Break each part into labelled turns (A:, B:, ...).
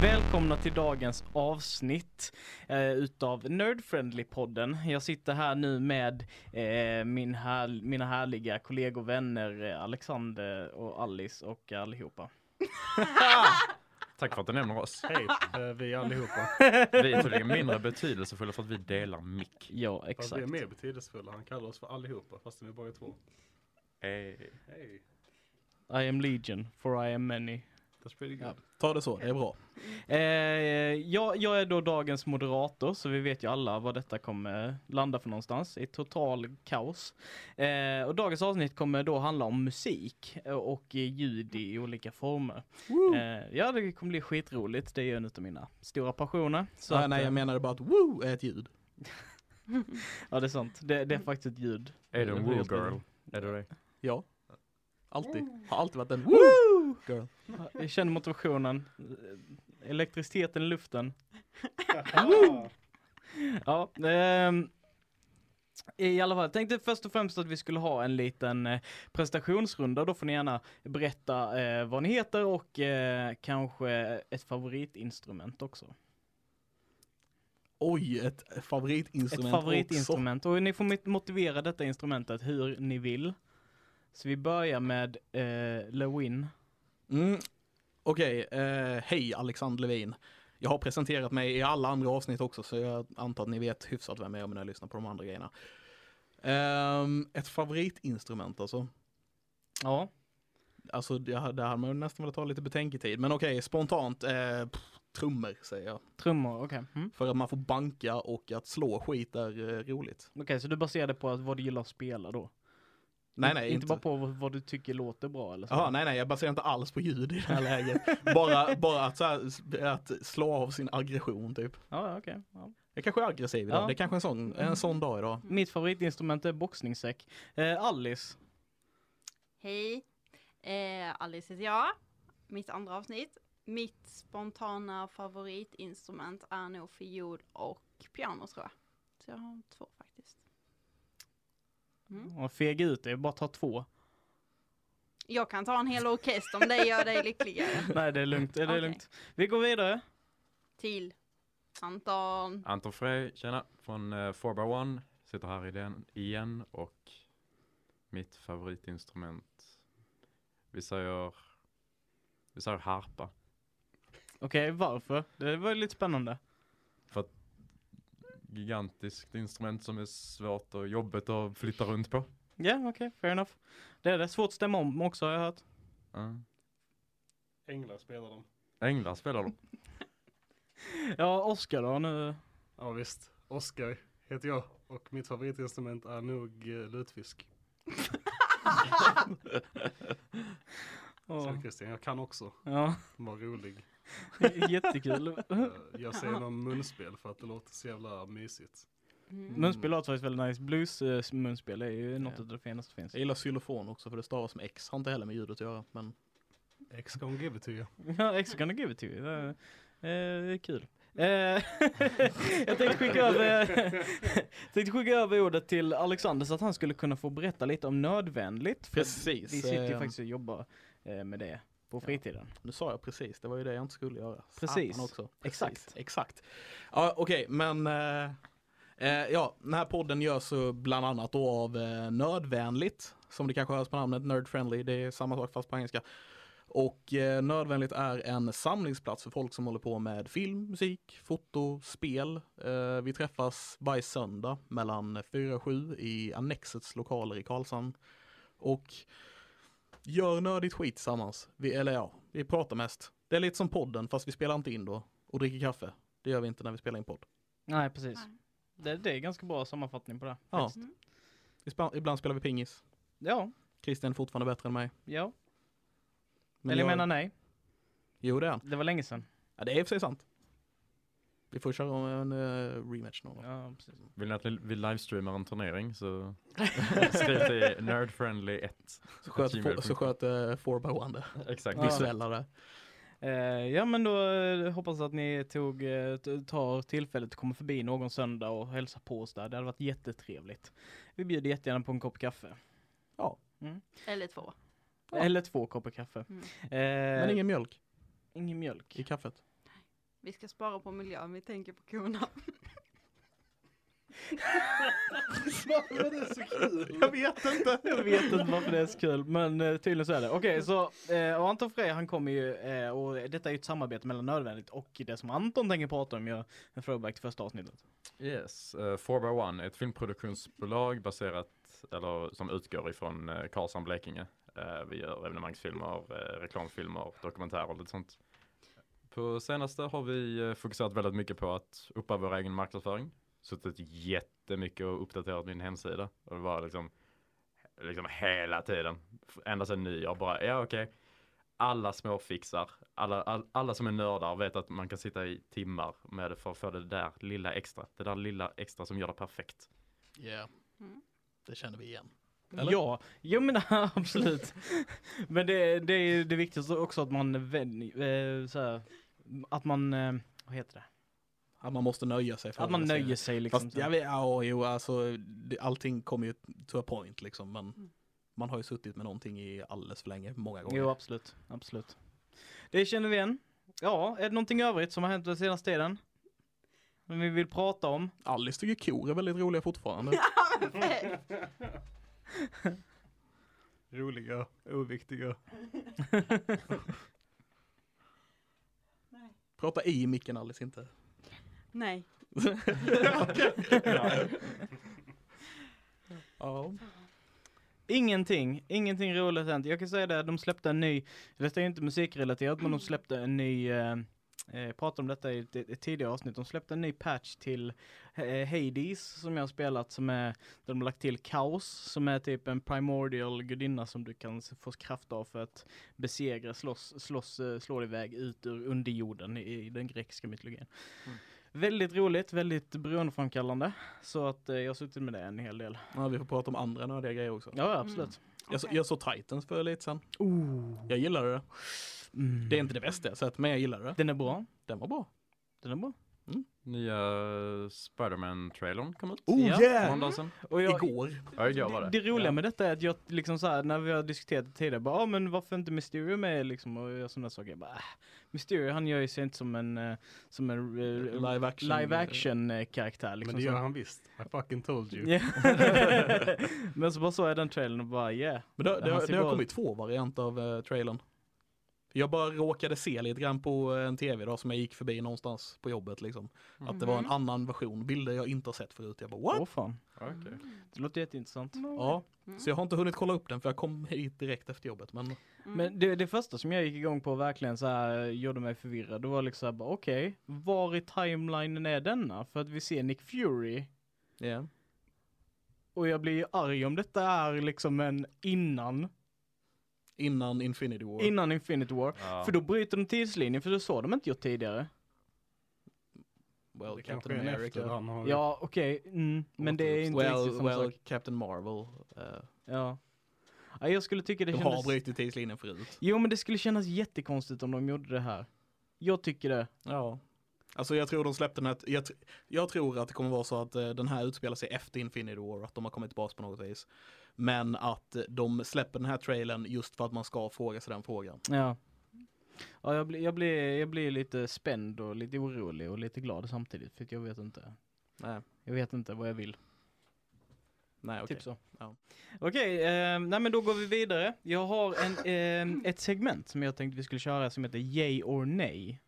A: välkomna till dagens avsnitt eh, utav Nerdfriendly-podden. Jag sitter här nu med eh, min här, mina härliga kollegor och vänner eh, Alexander och Alice och allihopa.
B: Tack för att du nämner oss.
C: Hej, eh, vi allihopa.
B: Vi är tydligen mindre betydelsefulla för att vi delar mick.
A: Ja,
C: Fast vi är
A: exakt.
C: mer betydelsefulla. Han kallar oss för allihopa fast vi är bara två.
B: Hey.
C: Hej.
A: I am legion, for I am many.
C: That's pretty good.
A: Ja.
D: Ta det så, det är bra.
A: Eh, jag, jag är då dagens moderator, så vi vet ju alla vad detta kommer landa för någonstans. I total kaos. Eh, och dagens avsnitt kommer då handla om musik eh, och ljud i olika former.
D: Mm.
A: Eh, ja, det kommer bli skitroligt. Det är ju en av mina stora passioner. Så
D: ah,
A: att,
D: nej,
A: eh,
D: jag menade bara att woo är ett ljud.
A: Ja, det är sant. Det, det är faktiskt ett ljud.
B: Är du en
A: blir
B: woo
A: jag
B: girl? Är du det?
D: Ja. Alltid. Har alltid varit en woo girl.
A: Jag känner motivationen. eh, Elektriciteten i luften. Ja, ehm, i alla fall, jag tänkte först och främst att vi skulle ha en liten eh, prestationsrunda. Då får ni gärna berätta eh, vad ni heter och eh, kanske ett favoritinstrument också.
D: Oj, ett
A: Ett
D: favoritinstrument.
A: favoritinstrument. Och ni får mot- motivera detta instrumentet hur ni vill. Så vi börjar med eh, Lewin.
D: också. Mm. Okej, eh, hej Alexander Levin. Jag har presenterat mig i alla andra avsnitt också så jag antar att ni vet hyfsat vem jag är om ni lyssnar på de andra grejerna. Ehm, ett favoritinstrument alltså.
A: Ja,
D: Alltså det, här- det här hade man ju nästan velat ta lite betänketid. Men okej, spontant. Eh, pff, trummor säger jag.
A: trummor, okej. Mm.
D: För att man får banka och att slå skit är eh, roligt.
A: Okej, så du baserar det på att vad du gillar att spela då?
D: Nej,
A: Inte-
D: nej,
A: inte.
D: inte.
A: bara på vad, vad du tycker låter bra eller så?
D: Jaha, nej nej, jag baserar inte alls på ljud i det här läget. bara bara att, så här, s- att slå av sin aggression typ.
A: Ja, ja, okej. Ja.
D: Jag kanske är aggressiv idag,
A: Ja.
D: det är kanske är en sån, en sån dag idag.
A: Mitt favoritinstrument är boxningssäck. Eh, Alice,
E: Hej! Eh, Alice heter jag. Mitt andra avsnitt. Mitt spontana favoritinstrument är nog fiol och piano tror jag. Så jag har två faktiskt.
A: och feg ut det, bara ta två.
E: Jag kan ta en hel orkester om det gör dig lyckligare.
A: Nej, det är lugnt. Det är
E: Okej.
A: lugnt. Vi går vidare.
E: Till Anton.
B: Anton Frey, tjena, från eh, 4x1. Sitter här i den igen och mitt favoritinstrument. Vi säger, vi säger harpa.
A: Okej, varför? Det var ju lite spännande.
B: Gigantiskt instrument som är svårt och jobbigt att flytta runt på.
A: Ja, okej, fair enough. Det är det. Svårt att stämma om också har jag hört.
B: Uh.
C: Änglar spelar de.
B: Änglar spelar de.
A: Ja, Oskar då nu.
C: Ja visst. Oskar heter jag och mitt favoritinstrument är nog eh, lutfisk.
A: Åh,
C: Säger Christian, jag kan också.
A: Ja,
C: Var rolig.
A: jättekul.
C: Eh, Jag säger någon munspel för att det låter så jävla mysigt.
E: Mm.
A: Munspel låter faktiskt väldigt nice. Blues eh, munspel är ju något
D: Ja.
A: av det finaste som finns.
D: Jag gillar xylofon också för det stavas med X, har inte heller med ljudet att göra. Men
C: X gonna give it to you.
A: Ja, extra gonna give it to you. Det är, eh, kul. Eh, jag tänkte skicka, över, tänkte skicka över ordet till Alexander så att han skulle kunna få berätta lite om nödvändigt. För vi
D: precis,
A: sitter ju
D: eh,
A: faktiskt och jobbar eh, med det på
D: Ja.
A: fritiden.
D: nu sa jag precis, det var ju det jag inte skulle göra.
A: Precis.
D: Satan också.
A: Exakt.
D: Exakt. Ja, Okej, men eh, eh, ja, den här podden görs så bland annat då av eh, Nördvänligt, som det kanske hörs på namnet, Nerdfriendly, det är samma sak fast på engelska. Och eh, Nördvänligt är en samlingsplats för folk som håller på med film, musik, foto, spel. Eh, vi träffas varje söndag mellan 4 och 7 i Annexets lokaler i Karlshamn. Och gör nördigt skit tillsammans. Vi, eller ja, vi pratar mest. Det är lite som podden fast vi spelar inte in då och dricker kaffe. Det gör vi inte när vi spelar in podd.
A: Nej, precis.
E: Nej.
A: Det, det är ganska bra sammanfattning på det.
D: Ja.
A: faktiskt.
D: Vi spa- Ibland spelar vi pingis.
A: Ja,
D: Christian är fortfarande bättre än mig.
A: ja. Eller jag menar nej.
D: Jo det är han.
A: Det var länge sedan.
D: Ja, det är i och för sig sant. Vi får köra om en eh, rematch någon gång.
A: Ja, precis.
B: Vill ni att li- vi livestreamar en turnering så skriv till nerdfriendly1.
D: Så sköt,
B: gmail.com.
D: få- så sköt eh, 4x1 det.
B: Exakt.
A: Ja.
D: Visuella det.
A: Eh, ja men då eh, hoppas att ni tog, eh, t- tar tillfället och kommer förbi någon söndag och hälsar på oss där. Det hade varit jättetrevligt. Vi bjuder jättegärna på en kopp kaffe.
E: Eller två.
A: Eller två koppar kaffe.
E: Mm.
A: Eh,
D: Men ingen mjölk
A: ingen mjölk.
D: i kaffet.
E: Vi ska spara på miljön, vi tänker på korna.
C: Varför är det så kul?
D: Jag vet inte.
A: Jag vet inte varför det är så kul, men eh, tydligen så är det. Okej, så eh, och Anton Frey han kommer ju, eh, och detta är ju ett samarbete mellan Nödvändigt och det som Anton tänker prata om, gör en throwback till första avsnittet.
B: Yes, eh, 4x1 är ett filmproduktionsbolag baserat, eller som utgår ifrån uh, Karlshamn, Blekinge. Eh, vi gör evenemangsfilmer, eh, reklamfilmer, dokumentärer och lite sånt. På senaste har vi eh, fokuserat väldigt mycket på att uppa vår egen marknadsföring. Suttit jättemycket och uppdaterat min hemsida. Och det var liksom, liksom hela tiden, ända sedan nyår bara, ja okej. Alla små fixar, alla, all, alla som är nördar vet att man kan sitta i timmar med det för att få det där lilla extra. Det där lilla extra som gör det perfekt.
D: Ja,
E: Mm.
D: det känner vi igen. Eller?
A: Ja, jo men absolut. men det, det är ju det viktigaste också att man vänjer, eh, så här, att man, eh, vad heter det?
D: Att man måste nöja sig. För
A: Att man
D: att
A: nöjer sig liksom.
D: Fast, jag vet, ja, jo, alltså, det, allting kommer ju to a point liksom, men
E: Mm.
D: man har ju suttit med någonting i alldeles för länge, många gånger.
A: Jo absolut, absolut. Det känner vi igen. Ja, är det någonting övrigt som har hänt den senaste tiden? Som vi vill prata om?
D: Alice tycker kor är väldigt roliga fortfarande.
E: Perfekt.
C: Roliga, oviktiga.
E: Nej.
D: Prata i micken Alice, inte.
E: Nej.
D: Ja.
A: Ingenting, ingenting roligt hänt. Jag kan säga det, de släppte en ny, detta är ju inte musikrelaterat, men de släppte en ny, eh, eh, pratade om detta i ett, ett tidigare avsnitt, de släppte en ny patch till eh, Hades som jag har spelat som är, där de har lagt till Kaos som är typ en primordial gudinna som du kan s- få kraft av för att besegra, slåss, slåss, eh, slå dig iväg ut ur underjorden i, i den grekiska mytologin.
B: Mm.
A: Väldigt roligt, väldigt beroendeframkallande. Så att eh, jag har suttit med det en hel del.
D: ja, vi får prata om andra nördiga grejer också.
A: Ja, absolut.
D: Jag, så-
E: Okej.
D: jag såg Titans för lite sen.
A: Oh.
D: Jag gillade det.
A: Mm.
D: Det är inte det bästa jag sett, men jag gillade det.
A: Den är bra.
D: Den var bra.
A: Den är bra.
B: Nya Spiderman-trailern kom ut.
D: Oh, yeah!
A: Äh.
B: För någon dag sedan.
A: Och jag,
D: Igår.
B: Ja, igår var det.
A: det roliga
B: ja.
A: med detta är att jag liksom så här, när vi har diskuterat det tidigare, bara, ah, men varför inte Mysterio med liksom och gör sådana saker. Jag bara, ah, Mysterio han gör ju sig inte som en, eh, som en eh,
D: Live action.
A: live action eh, karaktär liksom.
C: Men det gör
A: så.
C: han visst. I fucking told you.
A: Ja. men så bara såg jag den trailern och bara yeah.
D: Men det, det,
A: Han
D: det,
A: ser bra
D: har
A: ut.
D: kommit två varianter av eh, trailern. Jag bara råkade se lite grann på eh, en tv idag som jag gick förbi någonstans på jobbet liksom. Att det var en
E: Mhm.
D: annan version, bilder jag inte har sett förut. Jag bara what?
A: Åh fan.
B: Okej.
A: Det låter jätteintressant.
D: Ja,
E: Mm.
D: så jag har inte hunnit kolla upp den för jag kom hit direkt efter jobbet. Men
E: Mm.
A: Men det, det första som jag gick igång på verkligen så här eh, gjorde mig förvirrad. Det var liksom så här bara okej, var i timelinen är denna? För att vi ser Nick Fury
D: yeah.
A: Och jag blir ju arg om detta är liksom en innan,
D: innan Infinity War.
A: innan Infinity War.
B: Ja.
A: För då bryter de tidslinjen, för det så har de inte gjort tidigare.
D: well,
C: Det kanske
D: Captain
C: är en efter
D: America.
C: han har...
A: Ja, okej, mm, men det är inte
D: Well,
A: riktigt samma
D: well
A: sak.
D: Captain Marvel. eh,
A: Ja. ja, jag skulle tycka det
D: de har
A: kändes...
D: brutit tidslinjen förut.
A: Jo, men det skulle kännas jättekonstigt om de gjorde det här. Jag tycker det.
D: Ja. Alltså jag tror de släppte den här, jag, tr- jag tror att det kommer vara så att eh, den här utspelar sig efter Infinity War, att de har kommit tillbaka på något vis. Men att eh, de släpper den här trailern just för att man ska fråga sig den frågan.
A: Ja. Ja, jag blir, jag blir, jag blir lite spänd och lite orolig och lite glad samtidigt, för att jag vet inte.
D: Nej,
A: Jag vet inte vad jag vill.
D: nej okej.
A: Typ så.
D: Ja.
A: Okej, eh, nej men då går vi vidare. Jag har en, eh, ett segment som jag tänkte vi skulle köra som heter Yay or Nej.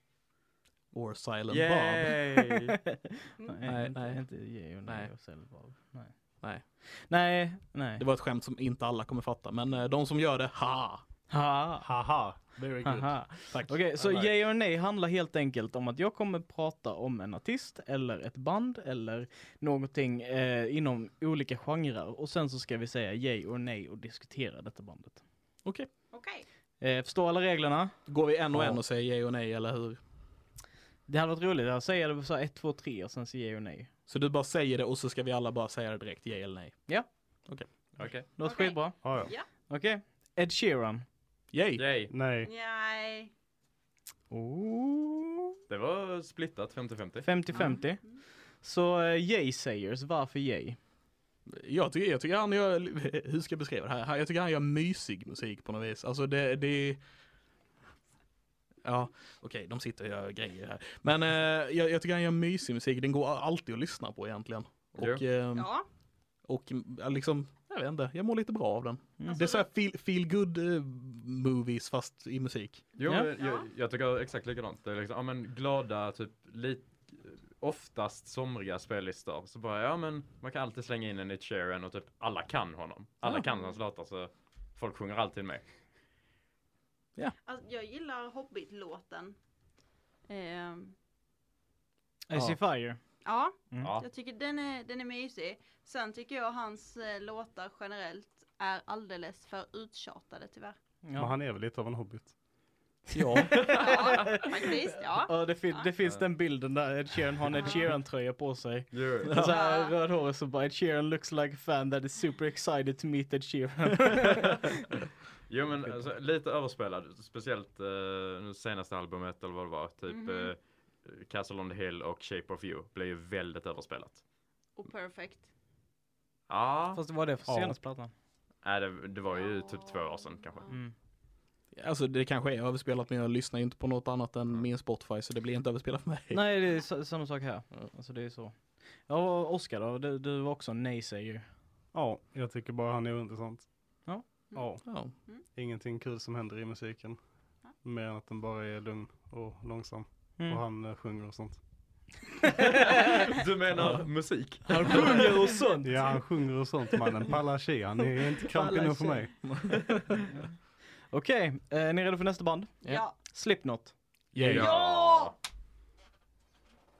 D: Or Silent Bob.
A: nej,
D: Nej,
A: inte,
D: nej.
A: inte Yay or Nej,
D: Nej.
A: och Silent Bob. Nej.
D: Nej.
A: Nej, nej.
D: Det var ett skämt som inte alla kommer fatta, men eh, de som gör det, ha!
A: Ha.
C: Haha, very good.
A: Haha.
D: Tack.
A: Okej, så
C: Alright.
A: Yay or Nej handlar helt enkelt om att jag kommer prata om en artist eller ett band eller någonting eh, inom olika genrer och sen så ska vi säga Yay or Nej och diskutera detta bandet.
D: Okej.
E: Okej.
A: Eh, förstår alla reglerna?
D: Går vi en och
A: Ja.
D: en och säger ja och nej, eller hur?
A: Det hade varit roligt att säga det så här 1, 2, 3 och sen så yay och nej.
D: Så du bara säger det och så ska vi alla bara säga det direkt, ja eller nej.
B: Okej.
A: Låter
E: Okej.
A: skitbra.
C: Ja, ja.
E: Ja.
A: Okej. Ed Sheeran.
D: Yay!
B: Yay.
C: Nej.
E: Nej.
A: Ooh. Mm.
B: Det var splittat 50-50.
A: 50-50. Så eh, yay sägers, varför yay?
D: Jag tycker, jag tycker han gör, hur ska jag beskriva det här? Jag tycker han gör mysig musik på något vis. Alltså det, det Ja, okej, de sitter och gör grejer här. Men eh, jag, jag tycker han gör mysig musik, den går alltid att lyssna på egentligen. Och,
B: Jo.
D: ehm,
E: Ja,
D: och ja, liksom, jag vet inte, jag mår lite bra av den.
A: Mm.
D: Det är så här feel, feel good eh, movies fast i musik.
B: Jo,
A: Ja.
B: jag- Jag, jag tycker exakt likadant. Det är liksom, ja men glada, typ lite oftast somriga spellistor. Så bara, ja men man kan alltid slänga in en Ed Sheeran och typ alla kan honom. Alla
D: Ja.
B: kan hans låtar så folk sjunger alltid med.
E: alltså, jag gillar Hobbit-låten. Ehm,
A: I see
B: Ja.
A: fire.
E: ja,
A: Mm.
B: Ja.
E: jag tycker den är, den är mysig. Sen tycker jag hans eh, låtar generellt är alldeles för uttjatade tyvärr.
C: Men
A: Ja.
C: han är väl lite av en hobbit.
D: Ja,
E: Ja, faktiskt, ja.
A: Ja, det, fin- det finns
B: Ja.
A: den bilden där Ed Sheeran har en Ed
E: Ja.
A: Sheeran-tröja på sig.
B: Jo.
A: Så
E: Ja.
A: här röd hår och så bara Ed Sheeran looks like a fan that is super excited to meet Ed Sheeran.
B: jo men alltså, lite överspelad. Speciellt eh, det senaste albumet eller vad det var. Typ
E: Mhm.
B: eh, Castle on the Hill och Shape of You blev ju väldigt överspelat.
E: Och perfect.
B: Ja,
A: Fast vad var det för
D: Ja.
A: senaste plattan?
B: Nej, det, det var ju typ två år sedan kanske.
E: Ja.
A: Mm.
D: alltså det kanske är överspelat men jag lyssnar ju inte på något annat än min Spotify så det blir inte överspelat för mig.
A: Nej, det är sa- samma sak här. Alltså det är så. Ja, och Oscar då? Du, du var också en nej-säger.
C: Ja, jag tycker bara han är ointressant.
A: Ja.
E: Mm.
C: Ja,
D: Ja.
C: ingenting kul som händer i musiken.
E: Ja.
C: Mer än att den bara är lugn och långsam.
A: Mm.
C: Och han eh, sjunger och sånt.
B: Du menar musik?
A: Han sjunger och sånt!
C: Ja, han sjunger och sånt mannen. Palachi, han är
A: Palachi.
C: inte krampig nog för mig.
A: Okej, eh, ni är redo för nästa band?
E: Ja.
A: Slipknot.
D: Yay.
E: Ja!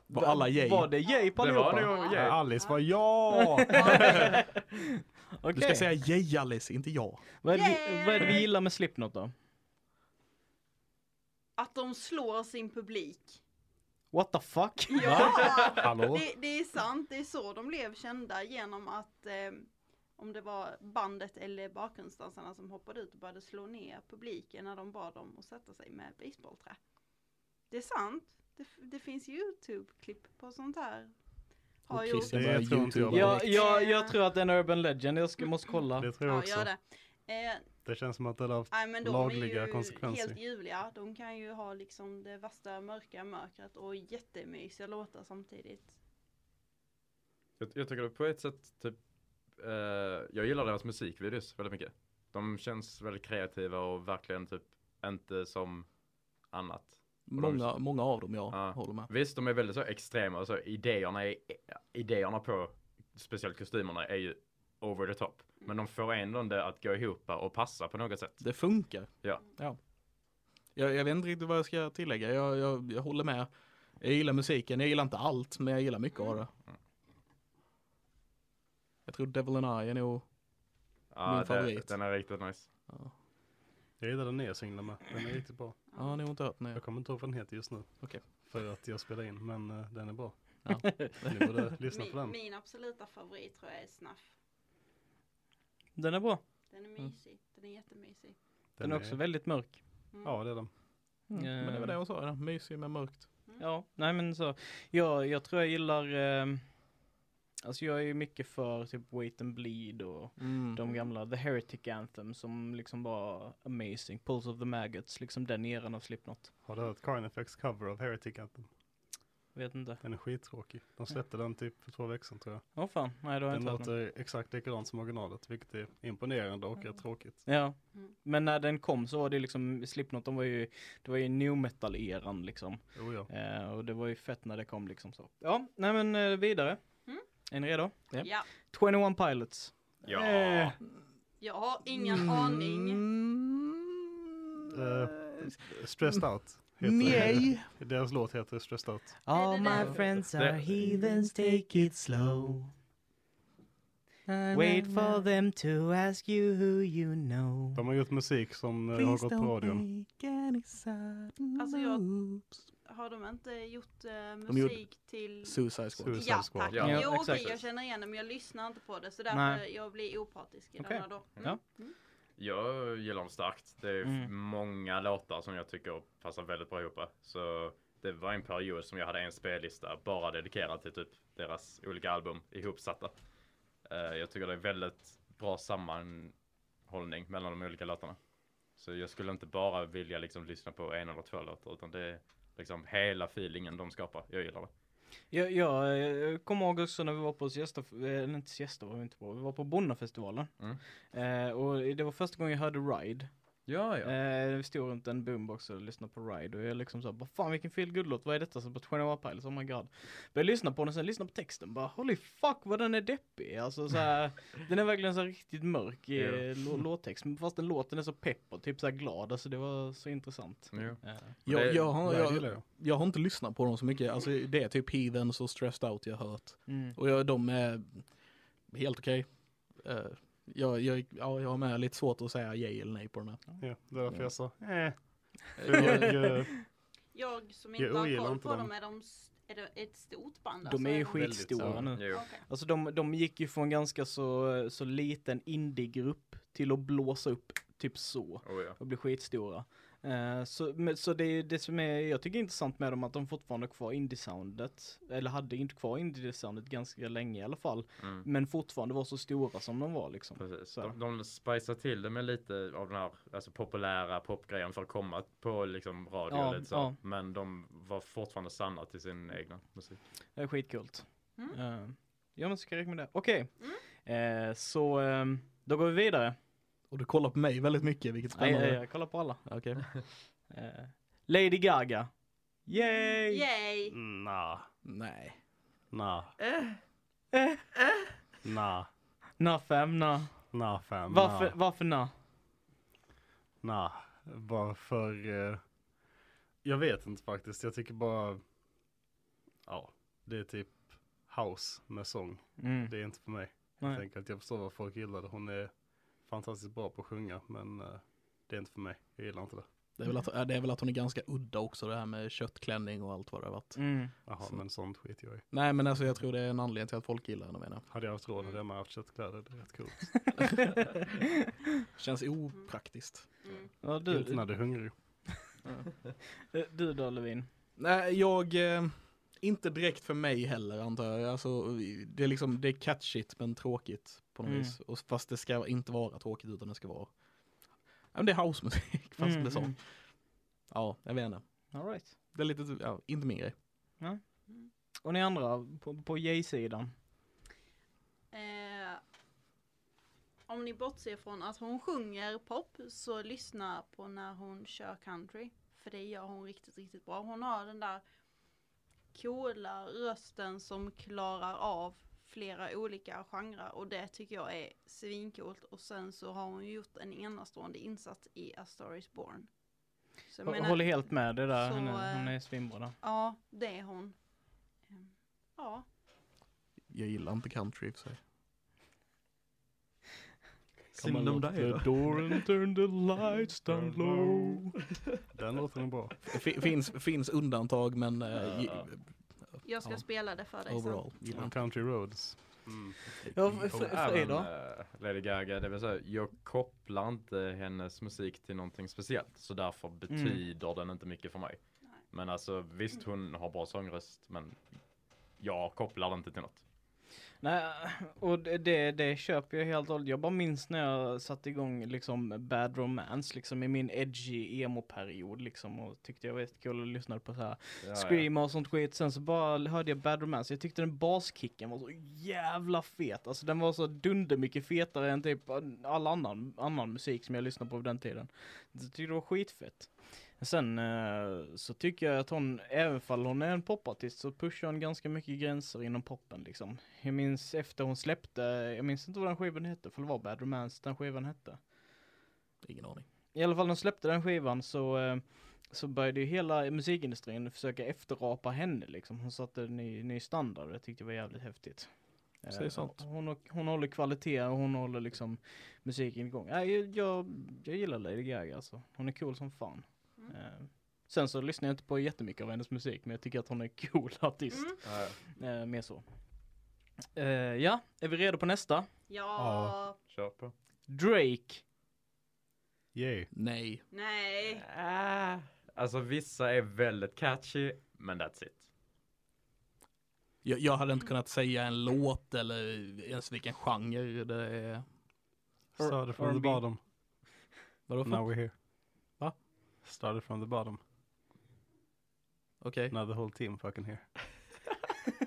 D: Var alla yay?
A: Var det yay på
B: Det var
A: allihopa?
B: nog
C: Ja,
B: yeah.
C: Alice var ja!
A: Okej.
D: Du ska säga yay Alice, inte jag.
A: Vad är, det vi,
E: Yay!
A: vad är det vi gillar med Slipknot då?
E: Att de slår sin publik.
A: What the fuck?
E: Ja!
C: Hallå?
E: Det, det är sant, det är så de blev kända genom att eh, om det var bandet eller bakgrundsdansarna som hoppade ut och började slå ner publiken när de bad dem att sätta sig med basebollträ. Det är sant, det, det finns YouTube-klipp på sånt här. Har
D: Och
E: gjort.
D: Christian
C: Det
D: bara
C: tror inte jag.
D: YouTube.
A: Ja, jag, jag
E: Eh.
A: tror att det är en urban legend, jag ska, måste kolla.
C: Det tror jag
E: Ja,
C: också.
E: gör
C: det.
E: det. Eh,
C: känns som att det har haft
E: nej, men de
C: lagliga
E: är ju
C: konsekvenser.
E: helt ljuvliga. De kan ju ha liksom det värsta mörka mörkret och jättemysiga låtar samtidigt.
B: Jag, jag tycker på ett sätt typ, eh, jag gillar deras musikvideos väldigt mycket. De känns väldigt kreativa och verkligen typ inte som annat.
D: Många, många av dem jag
B: Ja.
D: håller med.
B: Visst, de är väldigt så extrema och så idéerna, är, idéerna på speciellt kostymerna är ju over the top. Men de får ändå det att gå ihop och passa på något sätt.
D: Det funkar.
B: Ja.
D: ja. Jag, jag vet inte riktigt vad jag ska tillägga. Jag, jag, jag håller med. Jag gillar musiken. Jag gillar inte allt, men jag gillar mycket av det. Jag tror Devil and I är nog... Min
B: det-
D: favorit.
B: Den är riktigt nice.
D: Ja,
C: Jag gillar den nya singeln med. Den är riktigt bra.
D: ja ni har inte hört den.
C: Jag kommer inte ihåg vad den heter just nu.
D: Okej.
C: För att jag spelar in, men eh, den är bra.
D: Ja.
C: Ni borde lyssna på
E: Min,
C: den.
E: min absoluta favorit tror jag är Snaff.
A: Den är bra.
E: Den är mysig. Den är jättemysig.
A: Den är också väldigt mörk.
E: Mm.
C: Ja, det är den.
D: Mm. Men det var det hon sa, den. mysig men mörkt.
A: Ja, nej men så. Jag, jag tror jag gillar, eh, alltså jag är ju mycket för typ Wait and Bleed och de gamla The Heretic Anthem som liksom var amazing. Pulse of the Maggots, liksom den eran av Slipknot.
C: Har du hört Carnifex cover av Heretic Anthem?
A: Vet inte.
C: Den är skittråkig. De släppte den typ för två veckor sedan tror jag.
A: Åh fan, nej det har jag
C: Den
A: inte hört något.
C: låter exakt likadant som originalet, vilket är imponerande och rätt tråkigt.
A: Ja,
E: Mm.
A: men när den kom så var det liksom Slipknot, de var ju, det var ju new metal eran liksom.
C: Jo, ja.
A: Eh, och det var ju fett när det kom liksom så. Ja, nej men eh, vidare.
E: Mm.
A: Är ni redo?
D: Ja.
E: Ja,
A: 21 Pilots.
B: Ja,
A: Eh.
E: jag har ingen
C: Mm.
D: Mm.
E: aning.
C: Eh, Stressed Out heter
D: Nej.
C: Deras låt heter Stressed Out.
E: All my
A: friends
B: are
A: heathens, take it slow. Wait for them to ask you who you know.
C: De har gjort musik som eh, har gått på radion.
E: Alltså, jag- Har de inte gjort eh, musik till...
D: Suicide Squad.
C: Suicide
E: Ja,
C: Squad.
E: tack.
B: Ja,
E: jo, okej,
A: exakt.
E: jag känner igen det, men jag lyssnar inte på det. Så därför
A: Nej.
E: jag blir opartisk i
A: Okej.
E: denna då.
A: Ja.
E: Mm.
B: Jag gillar dem starkt. Det är
A: Mm.
B: många låtar som jag tycker passar väldigt bra ihop. Så det var en period som jag hade en spellista bara dedikerad till typ deras olika album ihopsatta. Eh, jag tycker det är väldigt bra sammanhållning mellan de olika låtarna. Så jag skulle inte bara vilja liksom lyssna på en eller två låtar utan det är liksom hela feelingen de skapar. Jag gillar det.
A: Jag, jag eh, kommer ihåg också när vi var på Siesta, eller inte Siesta var vi inte på, vi var på Bonnafestivalen.
B: Mm.
A: Eh, och det var första gången jag hörde Ride.
B: Ja,
A: Eh, vi stod runt en boombox och lyssnade på Ride och jag liksom sa, vad fan vilken feel good låt vad är detta? Så på 21 Pilots, oh my god. Började lyssna på den, sen lyssna på texten, bara holy fuck vad den är deppig. Alltså så här, den är verkligen så här riktigt mörk i
B: Ja.
A: eh, lå- låttext, men fast den låten är så pepp och typ så här glad, alltså det var så intressant.
B: Jo.
A: Eh,
B: Det-
D: Jag, jag, har,
C: Ja, det gillar
D: jag,
C: jag.
D: jag har inte lyssnat på dem så mycket. Alltså, det är typ Heathens och Stressed Out jag har hört.
A: mm.
D: Och jag, de är helt okej. Eh, jag, jag, ja, jag har med lite svårt att säga ja eller nej på den här.
C: Ja, det är därför jag sa, eh.
D: Jag-
C: Jag, eh,
E: Jag som
C: Jag
E: inte har
C: ogillar
E: koll
C: inte
E: på
C: dem.
E: dem, är de s- är det ett stort band?
A: De
E: alltså?
A: är ju
C: Väldigt
A: skitstora
C: stora.
A: nu.
B: Jo.
E: Okej.
A: Alltså de, de gick ju från ganska så, så liten indiegrupp till att blåsa upp typ så
B: Oh, ja.
A: och bli skitstora. Eh, så, men, så det är ju det som är, jag tycker är intressant med dem att de fortfarande har kvar indie-soundet. Eller hade inte kvar indie-soundet ganska länge i alla fall.
B: Mm.
A: Men fortfarande var så stora som de var liksom.
B: Precis.
A: Så.
B: De, de spicar till det med lite av den här alltså, populära popgrejen för att komma på liksom, radio
A: Ja,
B: och lite så.
A: ja.
B: Men de var fortfarande sanna till sin egna musik.
A: Det är skitcoolt.
E: Mm.
A: Eh, ja men ska jag rekommendera. Okej. Eh, så ehm, då går vi vidare.
D: Och du kollar på mig väldigt mycket, vilket är
A: Nej,
D: spännande.
A: jag, jag kollar på alla.
D: Okej.
A: Eh, Lady Gaga. Yay!
E: Yay!
C: nah,
D: Nej.
C: nah,
A: Eh,
C: nah,
A: Na fem, na.
C: nah fam.
A: Varför,
C: Nah,
A: varför na?
C: nah. Bara för, eh, jag vet inte faktiskt. Jag tycker bara, ja, det är typ house med sång.
A: Mm.
C: Det är inte för mig.
A: Nej.
C: Helt enkelt. Jag förstår vad folk gillar det. Hon är fantastiskt bra på att sjunga men eh, det är inte för mig. Jag gillar inte det.
D: Det är, väl att, ja, det är väl att hon är ganska udda också, det här med köttklänning och allt vad det har varit.
A: Mm.
C: Jaha,
D: Så-
C: men sånt skit jag i.
D: Nej men alltså jag tror det är en anledning till att folk gillar henne menar jag.
C: Hade jag haft råd hade jag med haft köttkläder. Det är rätt coolt.
D: Känns opraktiskt.
E: Mm.
A: Ja,
C: inte
A: du,
C: när du är hungrig.
A: eh, du då Levin?
D: Nej, jag... Eh, inte direkt för mig heller antar jag. Alltså, det är liksom, det är catchigt men tråkigt på något
A: Mm.
D: vis. Och, fast det ska inte vara tråkigt utan det ska vara... Ja, men det är housemusik fast med
A: Mm.
D: sång. Ja, jag vet inte.
A: Mm-hmm. All right.
D: Det är lite, ja, inte min grej.
A: Och ni andra på, på J-sidan?
E: Eh, om ni bortser från att hon sjunger pop så lyssna på när hon kör country. För det gör hon riktigt, riktigt bra. Hon har den där coola rösten som klarar av flera olika genrer och det tycker jag är svincoolt. Och sen så har hon gjort en enastående insats i A Star Is Born. Så jag
A: Hå-
E: menar-
A: Håller helt med det där,
E: så,
A: hon, är,
E: eh,
A: hon är svinbra där.
E: Ja, det är hon. Ehm, Ja,
D: Jag gillar inte country i och för sig.
B: Synd om dig då.
A: door and turn the lights
B: down low.
C: Den låten är bra.
D: Fi- finns, finns undantag men eh, gi-
B: Ja.
E: jag ska
D: Ja.
E: spela det för dig sen.
D: overall gillar
C: Och
D: inte.
C: Country Roads. Mm.
A: Ja, fr- fr-
B: Även
A: Frida?
B: eh, Lady Gaga, det vill säga jag kopplar inte hennes musik till någonting speciellt så därför
A: Mm.
B: betyder den inte mycket för mig.
E: Nej.
B: Men alltså visst hon har bra sångröst men jag kopplar den inte till något.
A: Nej, och det- det, det köper jag helt och hållet. Jag bara minns när jag satte igång liksom Bad Romance liksom i min edgy emo-period liksom och tyckte jag var jättekul och lyssnade på så här
B: Ja,
A: Scream och sånt skit. Sen så bara hörde jag Bad Romance. Jag tyckte den baskicken var så jävla fet. Alltså den var så dunder mycket fetare än typ all annan, annan musik som jag lyssnade på på den tiden. Jag tyckte det var skitfett. Sen eh, så tycker jag att hon, även fall hon är en popartist så pushar hon ganska mycket gränser inom poppen liksom. Jag minns efter hon släppte, jag minns inte vad den skivan hette, för det var Bad Romance den skivan hette
D: Ingen aning.
A: i alla fall när de släppte den skivan så, eh, så började ju hela musikindustrin försöka efterapa henne liksom. Hon satte en ny, ny standard och det tyckte jag var jävligt häftigt. Eh,
D: Säg sant.
A: Hon, har- hon håller kvalitet och hon håller liksom musiken igång. Äh, jag, jag, jag gillar Lady Gaga alltså. Hon är cool som fan.
E: Mm.
A: Eh, sen så lyssnar jag inte på jättemycket av hennes musik men jag tycker att hon är cool artist.
E: Mm.
B: Ja, ja.
A: Eh, mer så. Eh, ja, är vi redo på nästa?
E: Ja,
B: Kör på.
A: Drake.
C: Yay.
D: Nej.
E: nej.
B: Ah. Alltså vissa är väldigt catchy men that's it.
D: Jag, jag hade inte kunnat säga en låt eller ens vilken genre det är.
A: R-
C: Stöder från
A: R&B.
C: bottom.
D: Vadå för?
C: Now we're here. Started from the bottom.
D: Okej.
C: Now the whole team fucking here.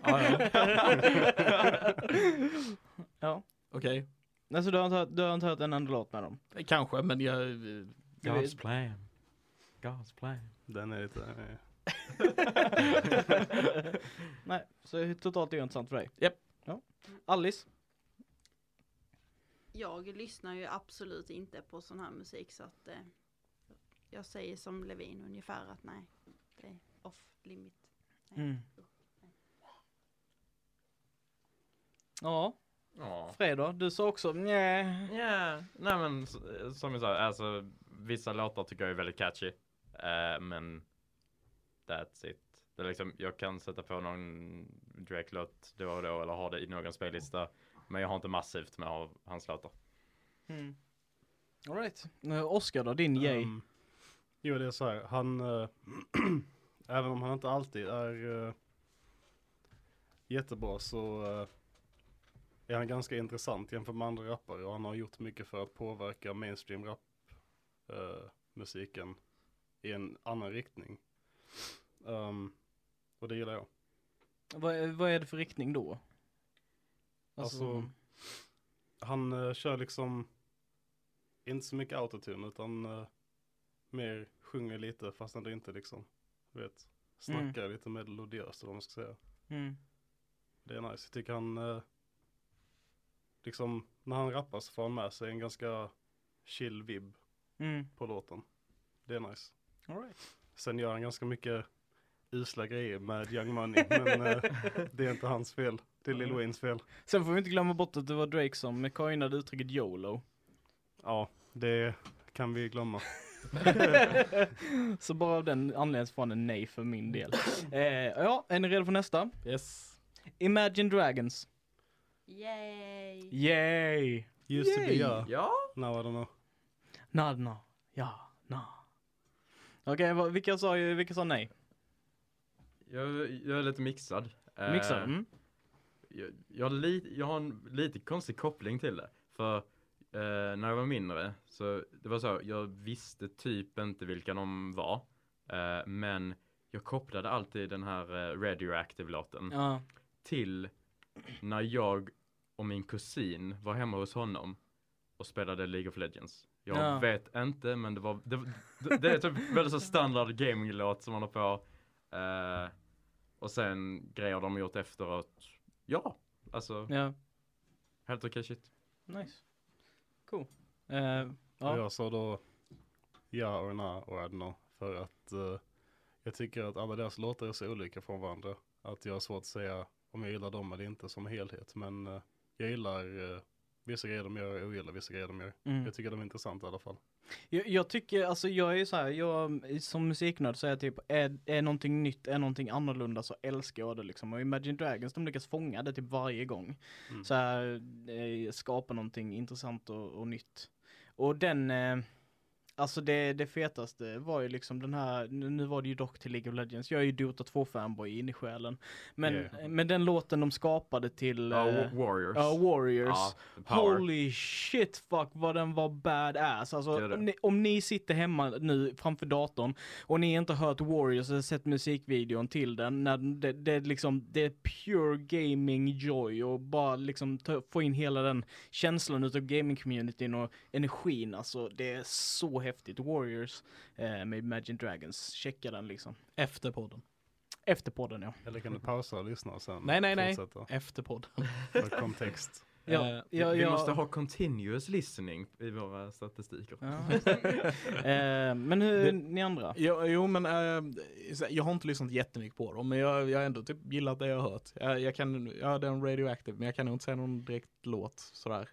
D: Ja, ja.
A: ja.
D: Okej.
A: Alltså du har, inte hört, du har inte hört en enda låt med dem?
D: Kanske, men jag...
B: God's plan. God's plan.
C: Den är lite... eh,
A: Nej, så totalt ointressant för dig?
D: Japp.
A: Ja. Alice?
E: Jag lyssnar ju absolut inte på sån här musik så att eh, jag säger som Levin ungefär att nej, det är off limit.
A: Ja,
B: Ja.
A: Fredag, du sa också nej.
B: Ja, nej men s- som jag sa, alltså vissa låtar tycker jag är väldigt catchy. Eh, men that's it. Det är liksom, jag kan sätta på någon Drake-låt då och då eller ha det i någon spellista. Men jag har inte massivt med av hans låtar.
A: Mm. Alright. Oskar då, din yay?
C: Ehm, jo, det är så här. Han, eh, även om han inte alltid är eh, jättebra så eh, är han ganska intressant jämfört med andra rappare och han har gjort mycket för att påverka mainstream rap eh, musiken i en annan riktning. Ehm, och det gillar jag.
A: Vad, vad är det för riktning då?
C: Alltså- Han eh, kör liksom inte så mycket autotune utan eh, mer sjunger lite fast ändå inte liksom. Du vet, snackar lite melodiöst eller vad man ska säga.
A: mm.
C: Det är nice. Jag tycker han, eh, liksom när han rappar så får han med sig en ganska chill vibb
A: Mm.
C: på låten. Det är nice.
A: Alright.
C: Sen gör han ganska mycket usla grejer med Young Money, men eh, det är inte hans fel. Det är Lil Waynes fel.
A: Sen får vi inte glömma bort att det var Drake som coinade uttrycket YOLO.
C: Ja, det kan vi glömma.
A: så bara av den anledningen så får han en nej för min del. Eh, ja, är ni redo för nästa?
D: Yes.
A: Imagine Dragons.
E: Yay!
A: Yay!
C: Used to be
A: Yay.
C: yeah.
B: Ja.
C: Now I don't know.
A: Nadna. Ja, na. Okej, vad- vilka sa, vilka sa nej?
B: Jag, jag är lite mixad. Eh,
A: Mixar. Mm.
B: jag, jag, har li, jag har en lite konstig koppling till det. För eh, när jag var mindre så det var så, jag visste typ inte vilka de var. Eh, men jag kopplade alltid den här eh, Radioactive-låten
A: Ja.
B: till när jag och min kusin var hemma hos honom och spelade League of Legends. Jag
A: Ja.
B: vet inte men det var, det, det, det är typ väldigt så standard gaminglåt som man har på. Eh, och sen grejer de har gjort efteråt. Ja, alltså
A: ja,
B: helt okej shit.
A: nice. Cool. Eh,
C: Och
A: ja.
C: jag sa då ja och na och I don't know. För att eh, jag tycker att alla deras låtar är så olika från varandra. Att jag har svårt att säga om jag gillar dem eller inte som helhet. Men eh, jag gillar eh, vissa grejer de gör och jag ogillar vissa grejer de gör.
A: Mm.
C: Jag tycker de är intressanta i alla fall.
A: Jag, jag tycker, alltså jag är ju så här, jag som musiknörd så är jag typ, är, är någonting nytt, är någonting annorlunda så älskar jag det liksom. Och Imagine Dragons de lyckas fånga det typ varje gång.
C: Mm.
A: Så här, eh, skapa någonting intressant och, och nytt. Och den, eh, alltså det, det fetaste var ju liksom den här, nu nu var det ju dock till League of Legends, jag är ju Dota 2 fanboy in i själen. Men,
C: Yeah.
A: men den låten de skapade till
B: Ja,
A: eh,
B: Wa- Warriors.
A: ja, Warriors.
B: Ja, power.
A: Holy shit fuck vad den var badass. Alltså,
B: Det är det.
A: om, ni, om ni sitter hemma nu framför datorn och ni inte hört Warriors eller sett musikvideon till den, när den- det, det, är liksom, det är pure gaming joy och bara liksom ta, få in hela den känslan utav gaming-communityn och energin. Alltså det är så häftigt. Warriors eh, med Imagine Dragons, checka den liksom.
D: Efter podden.
A: Efter podden ja.
C: Eller kan du pausa och lyssna och sen
D: Nej, nej, nej.
C: fortsätta?
D: Efter podden.
C: För kontext.
A: Ja,
D: Eh,
B: Vi,
A: ja,
B: vi
A: ja.
B: måste ha continuous listening i våra statistiker.
A: Ja, just det. eh, men hur,
D: Det-
A: ni andra?
D: Jo, jo men eh, så här, jag har inte lyssnat jättemycket på dem, men jag, jag har ändå typ gillat det jag har hört. Jag, jag kan, ja den Radioactive, men jag kan nog inte säga någon direkt låt sådär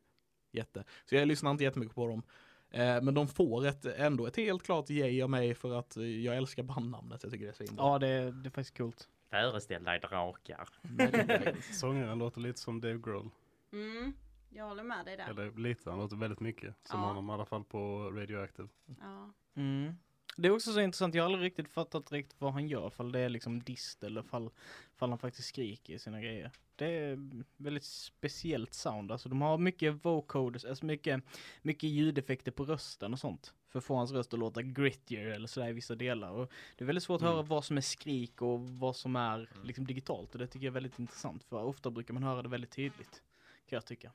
D: jätte. Så jag lyssnar inte jättemycket på dem. Eh, men de får ett, ändå ett helt klart yay av mig för att eh, jag älskar bandnamnet, jag tycker det är så himla
A: Ja, det, det är faktiskt coolt.
B: Föreställ dig drakar.
C: Sångaren låter lite som Dave Grohl.
E: Mm, jag håller med dig där.
C: Eller lite, han låter väldigt mycket. Som
E: Ja.
C: honom i alla fall på Radioactive.
E: Ja.
A: Mm. Det är också så intressant, jag har aldrig riktigt fattat riktigt vad han gör, fall det är liksom dist eller fall, fall han faktiskt skriker i sina grejer. Det är väldigt speciellt sound, alltså de har mycket vocoders, alltså mycket, mycket ljudeffekter på rösten och sånt. För att få hans röst att låta grittier eller sådär i vissa delar. Och det är väldigt svårt att höra vad som är skrik och vad som är liksom digitalt och det tycker jag är väldigt intressant för ofta brukar man höra det väldigt tydligt. Kan jag tycka.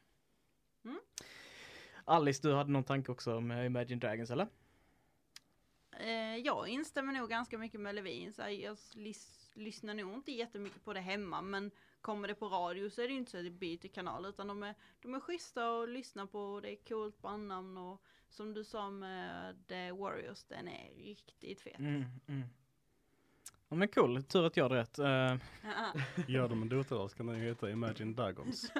E: Mm.
A: Alice, du hade någon tanke också om eh, Imagine Dragons eller?
E: Eh, jag instämmer nog ganska mycket med Levin. Så här, jag lys- lyssnar nog inte jättemycket på det hemma men kommer det på radio så är det ju inte så att jag byter kanal utan de är, de är schyssta och lyssnar på och det är coolt bandnamn och som du sa med eh, The Warriors, den är riktigt fet.
A: Mm, mm. Ja men cool, tur att jag hade rätt. Eh,
C: Gör de en Dota-roll så kan den ju heta Imagine Dragons.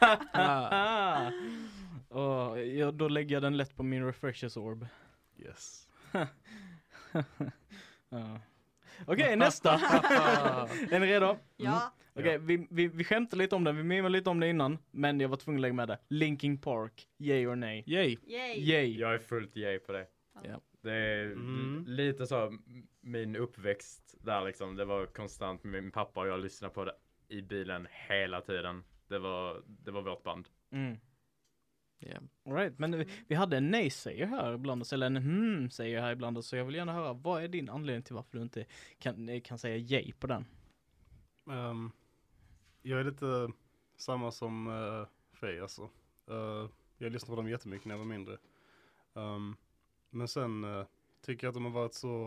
D: Ah,
A: ah. Och jag, då lägger jag den lätt på min refreshers orb.
C: Yes.
A: Ja. Okej, nästa! är ni redo?
E: ja,
A: Okej, vi, vi, vi skämtade lite om det, vi mimade lite om det innan, men jag var tvungen att lägga med det. Linkin Park, yay or nej?
D: Yay.
E: yay!
A: Yay!
B: Jag är fullt yay på det.
D: Ja.
B: Det är
C: Mm.
B: l- lite så m- min uppväxt där liksom. Det var konstant med min pappa och jag lyssnade på det i bilen hela tiden. Det var, det var vårt band.
A: Mm.
D: Yeah.
A: All right, men vi, vi hade en nej-säger här ibland oss, eller en hmm-säger här ibland oss, så jag vill gärna höra, vad är din anledning till varför du inte kan, eh, kan säga yay på den?
C: Ehm, jag är lite samma som uh, Frej alltså. Eh, jag lyssnade på dem jättemycket när jag var mindre. Ehm, men sen eh, tycker jag att de har varit så,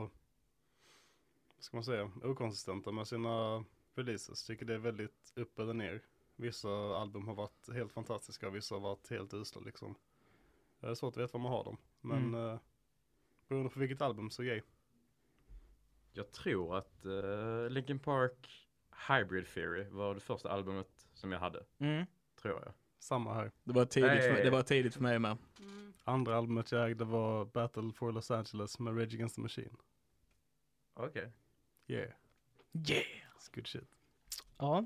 C: vad ska man säga, okonsistenta med sina releases. Tycker det är väldigt upp eller ner. Vissa album har varit helt fantastiska och vissa har varit helt usla liksom. Det är svårt att veta var man har dem. Men
A: Mm.
C: eh, beroende på vilket album så yay.
B: Jag tror att eh, Linkin Park Hybrid Theory var det första albumet som jag hade.
A: Mm.
B: Tror jag.
C: Samma här.
D: Det, var tidigt för mig,
B: Nej.
D: det var tidigt för mig med.
E: Mm.
C: Andra albumet jag ägde var Battle for Los Angeles med Rage Against the Machine.
B: Okej.
C: Yeah,
A: Yeah!
C: it's good shit.
A: Ja.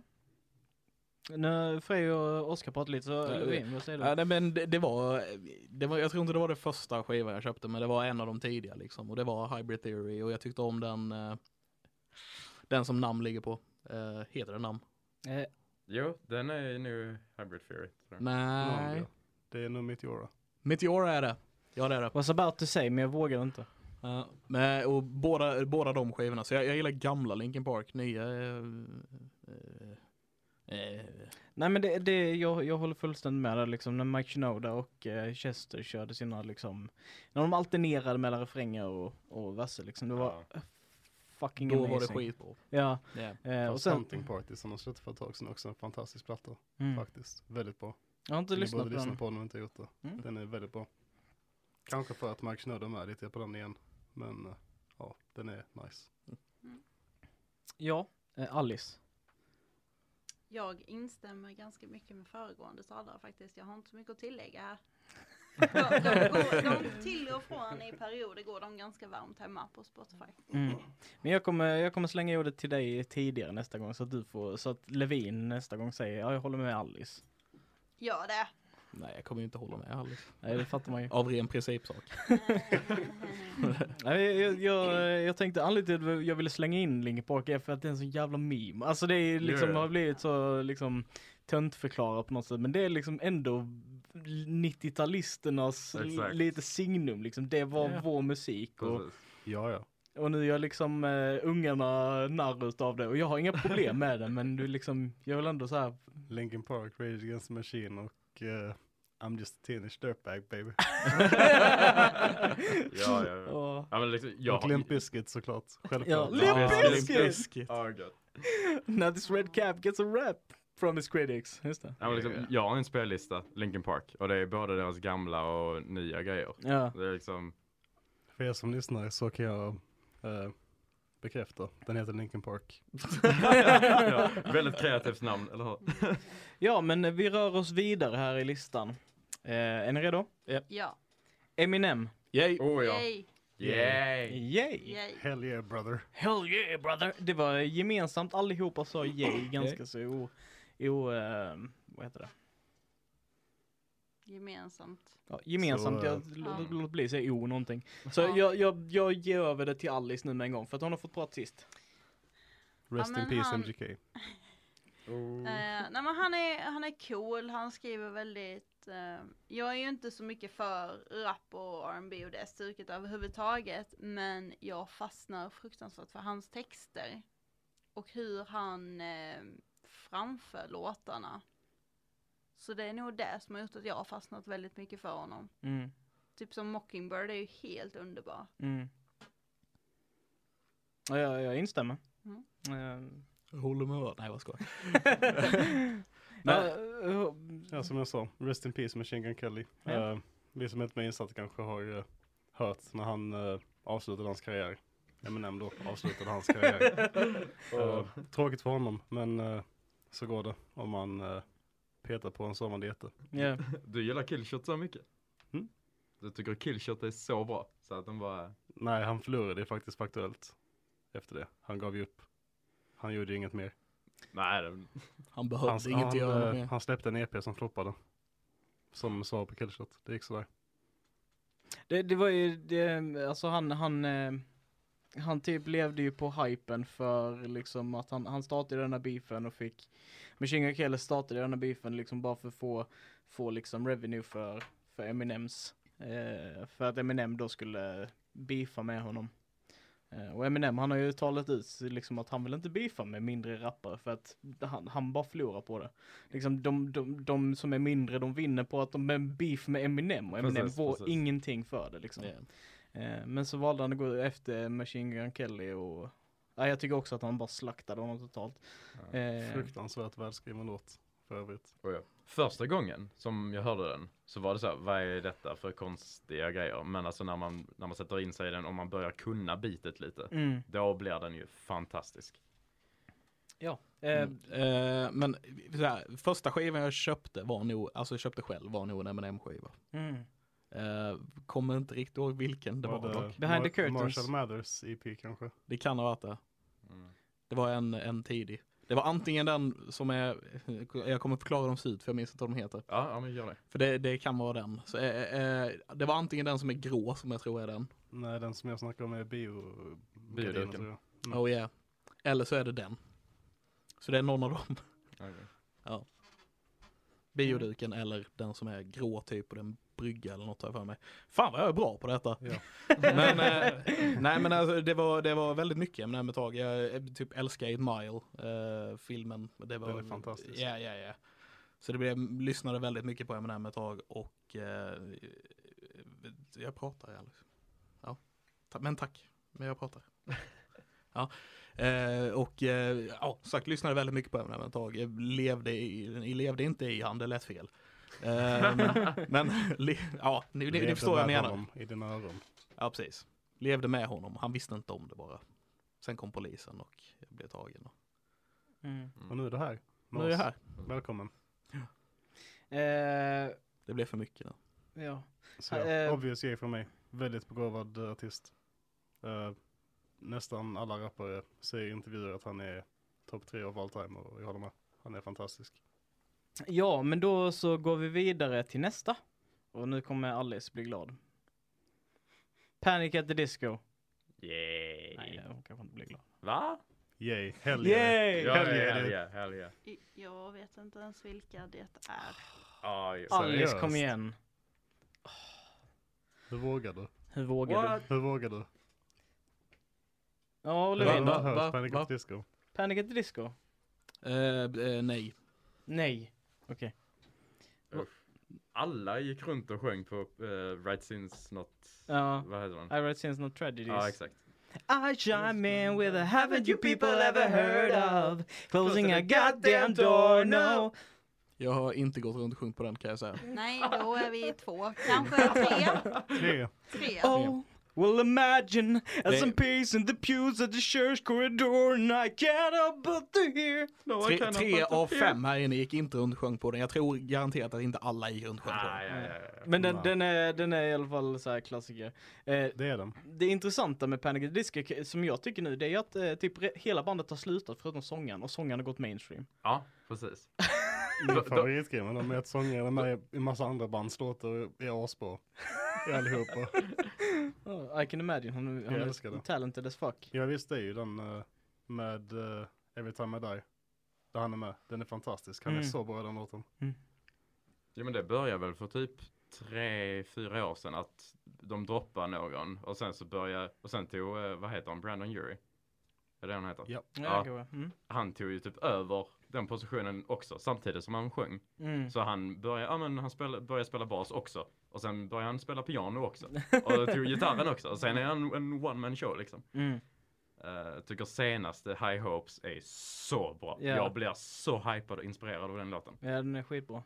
A: Nu Frej och Oskar pratade lite, så
D: Ja,
A: Levin, vad säger du?
D: Ja, nej, men det, det, var, det var, jag tror inte det var det första skivan jag köpte, men det var en av de tidiga liksom. Och det var Hybrid Theory och jag tyckte om den, eh, den som namn ligger på. Eh, heter det namn?
A: Eh,
B: Jo, den är nu Hybrid Theory. Tror jag.
D: Nej.
C: Namn, ja. Det är nog
A: Eh,
C: Meteora.
D: Meteora är det. Ja det är det.
A: was about to say, men jag vågar inte.
D: Ja, men, och båda, båda de skivorna, så jag, jag gillar gamla Linkin Park, nya... Eh, eh, eh,
A: Nej men det, det jag, jag håller fullständigt med där liksom, när Mike Shinoda och eh, Chester körde sina liksom, när de alternerade mellan refränger och, och verser liksom, det var fucking
D: då
A: amazing.
D: var det skitbra.
A: Ja,
D: Yeah.
A: eh, och
C: Och sen...
A: sen,
C: Something Party som de släppte för ett tag sedan också, en fantastisk platta
A: mm,
C: faktiskt. Väldigt bra.
A: jag har inte
C: Ni
A: lyssnat
C: borde
A: på
C: lyssna
A: den.
C: på den om ni inte har gjort det.
A: Mm.
C: Den är väldigt bra. Kanske för att Mark Snöder är med lite på den igen. Men eh, ja, den är nice.
A: Ja, eh, Alice.
E: Jag instämmer ganska mycket med föregående talare faktiskt. Jag har inte så mycket att tillägga här. De, de, går, de till och från i perioder går de ganska varmt hemma på Spotify.
A: Mm. Men jag kommer, jag kommer slänga ordet till dig tidigare nästa gång så att du får, så att Levin nästa gång säger, ja jag håller med Alice.
E: Gör det!
D: Nej jag kommer ju inte hålla med alls.
A: Nej det fattar man ju.
D: Av ren principsak.
A: Nej, jag, jag, jag tänkte anledningen till att jag ville slänga in Linkin Park är för att det är en så jävla meme. Alltså det är liksom,
B: Yeah.
A: har blivit så liksom töntförklarat på något sätt. Men det är liksom ändå 90-talisternas l-
B: Exakt.
A: lite signum liksom. Det var
B: Yeah.
A: vår musik och,
B: Precis.
C: Ja, ja.
A: och nu gör liksom eh, ungarna narr utav det. Och jag har inga problem med det men du liksom, jag vill ändå så här.
C: Linkin Park, Rage Against the Machine och eh, I'm just a teenage dirtbag baby.
B: Ja, ja, ja.
A: Åh.
B: ja men liksom, jag
C: Och
B: har...
C: Limp Bizkit såklart. Självklart.
A: Limp
B: Ja,
A: Bizkit!
B: Limp
D: Biscuit.
B: Ja, gud.
A: Now this red cap gets a rap from his critics. Just det.
B: Ja, men liksom, jag har en spellista, Linkin Park, och det är både deras gamla och nya grejer.
A: Ja.
B: Det är liksom,
C: För er som lyssnar så kan jag eh, bekräfta. Den heter Linkin Park.
B: ja, väldigt kreativt namn, eller hur?
A: Ja, men vi rör oss vidare här i listan. Eh, är ni redo?
E: Ja,
A: Eminem.
D: Yay!
B: Oh
E: yay,
B: Yay!
A: Yay!
E: yay.
C: Hell yeah brother.
A: Hell yeah brother! Det var gemensamt allihopa sa yay ganska så o... o eh, vad heter det?
E: gemensamt.
A: Ja, gemensamt,
C: Så, eh,
A: jag lå-
E: Ja.
A: låt bli säga O någonting. Så
E: Ja.
A: jag, jag, jag ger över det till Alice nu med en gång för att hon har fått prata sist.
C: Rest
E: men
C: in peace
E: han-
C: MGK.
E: Eh, nej men han är, han är cool, han skriver väldigt, eh, jag är ju inte så mycket för rap och R&B och det stuket överhuvudtaget, men jag fastnar fruktansvärt för hans texter. Och hur han eh, framför låtarna. Så det är nog det som har gjort att jag har fastnat väldigt mycket för honom.
A: Mm,
E: Typ som Mockingbird är ju helt underbar.
A: mm. Ja, jag, jag instämmer.
E: Mm.
A: Eh,
D: Håller med. Nej, vad skojar.
A: ja, eh,
C: Ja, som jag sa, Rest in peace Machine Gun Kelly.
A: Ja.
C: Eh, vi som inte är insatta kanske har eh, hört när han eh, avslutade hans karriär. Eminem då avslutade hans karriär. Eh, tråkigt för honom, men eh, så går det om man eh, petar på en sovande jätte.
A: ja.
B: Du gillar killshot så mycket?
C: Mm.
B: Du tycker killshot är så bra? Så att de bara,
C: Nej, han förlorade ju faktiskt faktuellt efter det. Han gav ju upp. Han gjorde ju inget mer.
B: nej, de,
D: Han behövde
C: han,
D: inget
C: han,
D: göra
C: eh,
D: mer.
C: han släppte en EP som floppade. Som svar på Killshot. Det gick sådär.
A: Det, det var ju, det, alltså han, han, eh, han typ levde ju på hypen för liksom att han, han startade den här beefen och fick, Machine Gun Kelly startade den här beefen liksom bara för att få, få liksom revenue för, för Eminems, eh, för att Eminem då skulle beefa med honom. Eh, Och Eminem han har ju talat ut sig liksom att han vill inte beefa med mindre rappare för att han, han bara förlorar på det. Liksom de, de, de som är mindre de vinner på att de är en beef med Eminem och Eminem
B: Precis,
A: får
B: precis.
A: ingenting för det liksom.
D: Yeah.
A: Eh, Men så valde han att gå efter Machine Gun Kelly och ja, jag tycker också att han bara slaktade honom totalt.
B: ja.
A: Eh,
C: Fruktansvärt välskriven låt. För övrigt.
B: Oj, oh ja. Första gången som jag hörde den så var det så här, vad är detta för konstiga grejer? Men alltså när man, när man sätter in sig i den och man börjar kunna bitet lite,
A: Mm,
B: då blir den ju fantastisk.
A: ja. Eh,
D: Mm. Eh, men så här, första skivan jag köpte var nog, alltså jag köpte själv var nog en M&M skiva.
A: mm.
D: Eh, kommer inte riktigt ihåg vilken det var, dock.
A: Behind the
C: Mar-
A: Curtains.
C: Marshall Mathers EP kanske.
D: Det kan ha varit det.
B: Mm.
D: Det var en, en tidig. Det var antingen den som är, jag kommer förklara dem ut för jag minns inte vad de heter.
B: Ja, ja, men gör det.
D: För det, det kan vara den. Så, eh, eh, det var antingen den som är grå som jag tror är den.
C: Nej, den som jag snackar om är bio...
B: Bioduken.
C: gardinen, tror jag. Mm.
D: Oh yeah. Eller så är det den. Så det är någon av dem.
B: Okej.
D: Bioduken eller den som är grå typ och den brygga eller något har jag för mig. Fan vad jag är bra på detta.
C: Ja.
D: Men, eh, nej men alltså, det, var, det var väldigt mycket M&M ett tag. Jag eh, typ älskar 8 Mile, eh, filmen. Det var,
C: Den är fantastisk.
D: Ja, ja, ja. Så det blev, lyssnade väldigt mycket på M&M ett tag och eh, jag pratar Alice. Ja, Ta- men tack. Men jag pratar. ja. Eh, och eh, ja, som sagt, lyssnade väldigt mycket på M&M ett tag. Jag levde, i, jag levde inte i han, det lät fel. Eh, men men le, ja, ni, ni, ni
C: Levde
D: förstår vad jag
C: med
D: menar.
C: honom I dina öron.
D: Ja, precis. Levde med honom. Han visste inte om det bara. Sen kom polisen och jag blev tagen.
A: Mm.
C: Och nu är du här. med
D: Nu är jag
C: oss.
D: här.
C: Välkommen.
A: Eh,
D: Det blev för mycket nu.
A: ja.
C: Så,
A: Eh,
C: obvious grej från mig. Väldigt begåvad eh, artist. Eh, nästan alla rappare säger i intervjuer att han är topp tre av all time och jag håller med. Han är fantastisk.
A: ja, men då så går vi vidare till nästa. Och nu kommer Alice bli glad. Panic at the Disco.
B: Yay!
A: Nej, hon kanske inte blir glad.
B: Va?
C: Yay, hell yeah.
A: Yay!
B: Ja,
C: Hell
B: hell
C: yeah,
B: yeah,
C: dude.
B: hell yeah, hell yeah.
E: I- Jag vet inte ens vilka det är.
B: Ah, ja.
A: Alice,
C: Seriöst?
A: kom igen.
C: Hur vågar du?
A: Hur vågar
B: What?
A: du?
C: Hur vågar du?
A: Ja,
C: Hur
A: Levin
D: va-
A: då?
C: hörs
D: va-
C: Panic
D: va-
C: at the Disco?
A: Panic at the Disco?
D: Eh, eh, nej.
A: Nej.
B: Alla gick runt och sjöng på eh, Right Sins Not...
A: Ja.
B: Vad heter den?
A: I write since no tragedies.
B: Ja, exakt.
A: I chime in with a haven't you people ever heard of closing a goddamn door no
D: Jag har inte gått runt och sjungit på den kan jag säga.
E: Nej, då är vi två, kanske tre.
C: Tre.
E: tre.
A: oh well imagine as
D: Det-
A: some peace in the pews at the church corridor and I can't help but to hear
B: No, I
D: Tre,
B: cannot
D: tre
B: but
D: av
B: appear.
D: fem här inne gick inte runt och sjöng på den. Jag tror garanterat att inte alla gick runt och sjöng på
B: Ah,
D: den.
B: ja, ja, ja.
A: Men den,
C: Wow.
A: den, är, den är i alla fall så här klassiker. Eh,
C: Det är den.
A: det intressanta med Panic! At the Disco k- som jag tycker nu det är ju att eh, typ re- hela bandet har slutat förutom sångaren och sångaren har gått mainstream.
B: ja, precis.
C: Min favoritgrej med dem är att sångaren är med i en massa andra bands låtar och är asbra. I allihopa.
A: Oh, I can imagine. Han, han
C: älskar
A: är
C: det.
A: talented as fuck.
C: Ja visst, det är ju den eh, med eh, Every time I die. Där han är med. Den är fantastisk. Han är
A: Mm.
C: så bra i den låten.
B: Jo men det började väl för typ tre, fyra år sedan att de droppar någon och sen så börjar, och sen tog, eh, vad heter han, Brandon Urie? Är det han heter?
C: Ja.
A: Ja.
B: Ja.
A: kanske. Mm.
B: Han tog ju typ över den positionen också samtidigt som han sjöng.
A: Mm.
B: Så han började, ja men han spela, började spela bas också. Och sen började han spela piano också. Och tog gitarren också. Och sen är han en one man show liksom.
A: Mm.
B: Eh, tycker senaste High Hopes är så bra.
A: Ja.
B: Jag blir så hypad och inspirerad av den låten.
A: Ja, den är skitbra.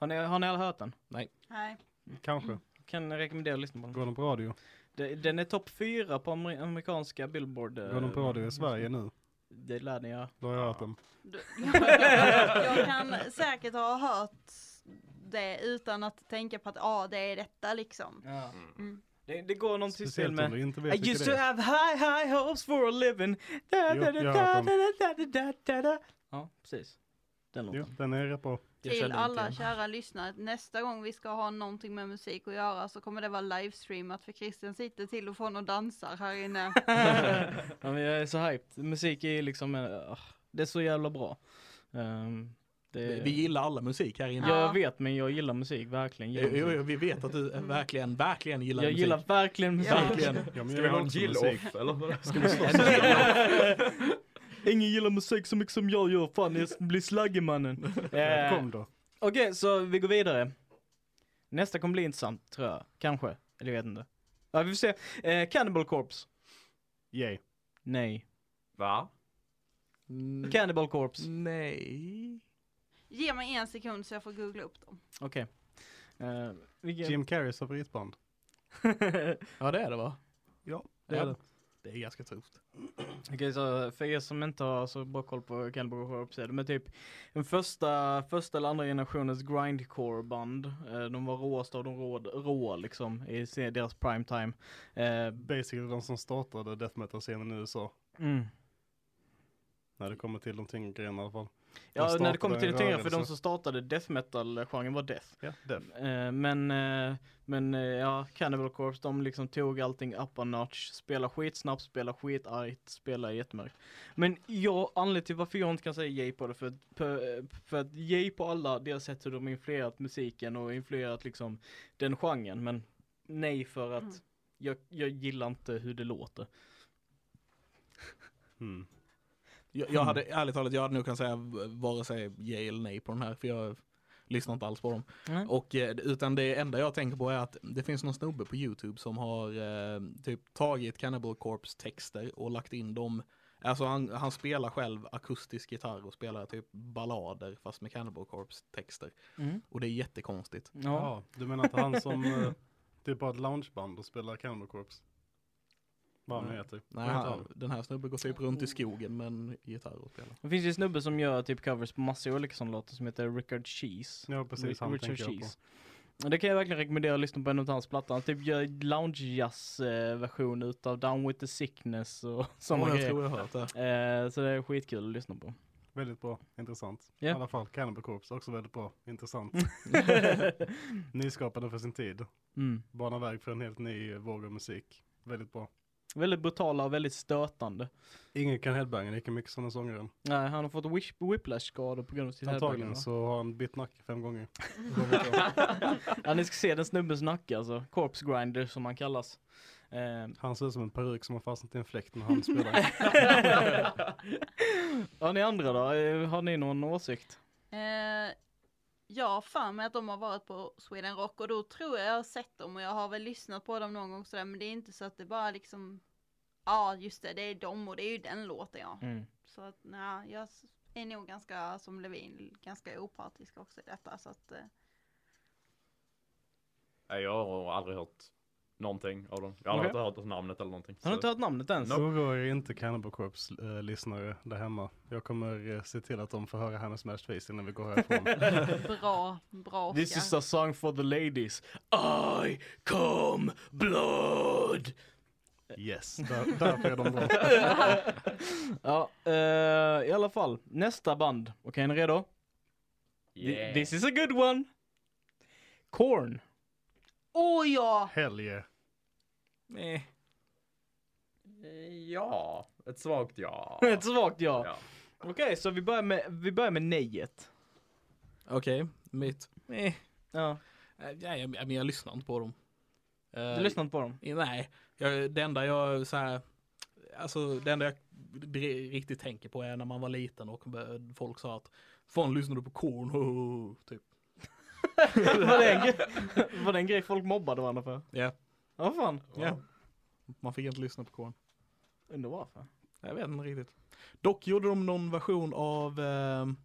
A: Har ni, har ni alla hört den?
E: Nej.
A: Mm.
C: Kanske.
A: Kan rekommendera att lyssna på den.
C: Går den på radio?
A: Det- Den är topp fyra på amer- amerikanska Billboard. eh,
C: Går den på radio i Sverige nu?
A: Det lär ni göra.
C: Då har jag hört den.
E: Du- jag kan säkert ha hört det utan att tänka på att ja, det är detta liksom. Mm.
A: Det, det går någonting till
C: Speciellt om
A: med... Äh,
C: du inte
A: I
C: vet
A: used
C: vilka
A: to
C: det är.
A: have high high hopes for a living. Da,
C: Jo,
A: da, da,
C: jag
A: da,
C: har hört
A: da, da, da, da, da, da. Ja, precis. Den
C: Jo,
A: låten.
C: den är rätt bra.
A: Jag kände
E: Till
A: inte
E: alla
A: igen.
E: kära lyssnare, nästa gång vi ska ha någonting med musik att göra så kommer det vara livestreamat för Christian sitter till och från och dansar här inne.
A: ja, men jag är så hyped. Musik är liksom, eh, ah, det är så jävla bra. Ehm, det,
D: Vi gillar alla musik här inne.
A: jag
E: Ja.
A: vet, men jag gillar musik, verkligen. Gillar
D: Jo, jo,
A: musik. Mm.
D: jo, vi vet att du verkligen, verkligen gillar
A: Jag
D: musik.
A: gillar verkligen musik.
D: Verkligen.
C: Ja, men
B: Ska vi
C: jag
B: ha en
C: också musik.
B: gill-off eller? Ska vi
A: Ingen gillar musik så mycket som jag gör, fan jag blir slaggig mannen.
C: Ja,
A: Eh,
C: Kom då.
A: Okej, så vi går vidare. Nästa kommer bli intressant, tror jag. Kanske. Eller jag vet inte. Ja, vi får se. Eh, Cannibal Corpse.
C: Yay.
A: Nej.
B: Va?
D: Mm,
A: Cannibal Corpse.
D: Nej.
E: Ge mig en sekund så jag får googla upp dem.
A: Okej. Eh, vilken-
C: Jim Carreys favoritband.
D: Ja det är det va?
C: Ja,
D: det är det.
C: Det är ganska tufft.
A: Okej, så för er som inte har så bra koll på Cannibal Corpse, de är typ den första, första eller andra generationens grindcore-band. Eh, De var råaste av de rå, rå liksom, i se- deras prime time. Eh,
C: Basically de som startade death metal-scenen i USA.
A: Mm.
C: När det
D: Mm.
C: kommer till de tyngre grejerna i alla fall. De
A: Ja, när det
C: startade
A: kommer till
C: en
A: det tyngre, för de
C: rörelse.
A: som startade death metal-genren var death.
C: Ja, death.
A: Eh, men, eh, men eh, ja, Cannibal Corpse, de liksom tog allting up a notch. Spela skitsnabbt, spela skitargt, spela jättemörkt. Men jag, anledningen till varför jag inte kan säga yay på det, för att, för, eh, för att yay på alla deras sätt hur de influerat musiken och influerat liksom den genren. Men nej för
E: Mm.
A: att jag, jag gillar inte hur det låter.
C: Mm.
D: Jag, jag hade,
A: Mm.
D: ärligt talat, jag hade nog kunnat säga v- vare sig ja eller nej på den här för jag lyssnar inte alls på dem.
A: Nej.
D: Och, eh, utan det enda jag tänker på är att det finns någon snubbe på Youtube som har eh, typ tagit Cannibal Corpse texter och lagt in dem Alltså han, han spelar själv akustisk gitarr och spelar typ ballader fast med Cannibal Corpse texter.
A: Mm.
D: Och det är jättekonstigt.
A: Ja.
C: Ja, du menar att han som eh, typ har ett loungeband och spelar Cannibal Corpse? Vad han
D: Mm.
C: heter. Vad
D: Nej,
C: heter
D: han,
C: han?
D: den här snubben går typ
A: Oh.
D: runt i skogen med en gitarr och spelar.
A: Det finns ju snubbe som gör typ covers på massa olika sådana låtar som heter Rickard Cheese.
C: Ja, precis. Han
A: Richard
C: tänker jag på.
A: Cheese. Och det kan jag verkligen rekommendera att lyssna på en av hans plattor. Han typ gör lounge jazz eh, version utav Down with the sickness och sådana
D: Åh, jag
A: grejer.
D: tror jag har hört det.
A: Eh, så det är skitkul att lyssna på.
C: Väldigt bra. Intressant.
A: Ja.
C: I alla fall Cannibal Corpse, också väldigt bra. Intressant.
D: Mm.
C: Nyskapande för sin tid.
A: mm.
C: Banar väg för en helt ny eh, våg av musik. Väldigt bra.
A: Väldigt brutala och väldigt stötande.
C: Ingen kan headbanga lika mycket som den sångaren.
A: Nej, han har fått whish- whiplash-skador på grund av sitt
C: Antagligen
A: headbang, va?
C: så har han bytt nacke fem gånger.
A: Ja, ni ska se den snubbens nacke alltså. Corpse grinder som han kallas. Eh,
C: Han ser ut som en peruk som har fastnat i en fläkt när han spelar.
A: ja, ni andra då? Eh, Har ni någon åsikt?
E: Eh, jag har för mig att de har varit på Sweden Rock och då tror jag jag har sett dem och jag har väl lyssnat på dem någon gång sådär men det är inte så att det bara liksom Ja just det, det är dem och det är ju den låten ja.
A: Mm.
E: Så att nja, jag s- är nog ganska som Levin, ganska opartisk också i detta så att eh,
B: Nej, jag har aldrig hört någonting av dem. Jag har aldrig hört namnet eller någonting.
A: Har
B: så-
A: du inte hört namnet ens?
C: Oroa er inte Cannibal Corpse-lyssnare där hemma. Jag kommer eh, se till att de får höra hennes smashed face innan vi går härifrån.
E: eh, bra, bra
A: This
E: Oscar.
A: is a song for the ladies. I come blood.
C: yes, där, därför är de bra.
A: Ja, eh, i alla fall. Nästa band. Okej, är ni redo? Th- This is a good one. Korn.
E: Åh ja!
C: Hell yeah.
D: Eh.
B: Ja, ett svagt ja.
A: Ett svagt ja.
B: ja.
A: Okej, så vi börjar med, vi börjar med nejet.
D: Okej, mitt. Eh.
A: Ja.
D: Nej, jag, jag, men jag lyssnar inte på dem.
A: Du
D: Eh,
A: lyssnar inte på dem?
D: Nej, jag, det enda jag så här, alltså det enda jag dri- riktigt tänker på är när man var liten och bör- folk sa att Fan lyssnar du på korn? Ho, ho, ho", Typ.
A: var, det en grej, var det en grej folk mobbade varandra för?
D: Ja,
A: Ja, vad fan.
D: ja. Man fick inte lyssna på korn.
A: Undrar varför.
D: Jag vet inte riktigt. Dock gjorde de någon version av ehm,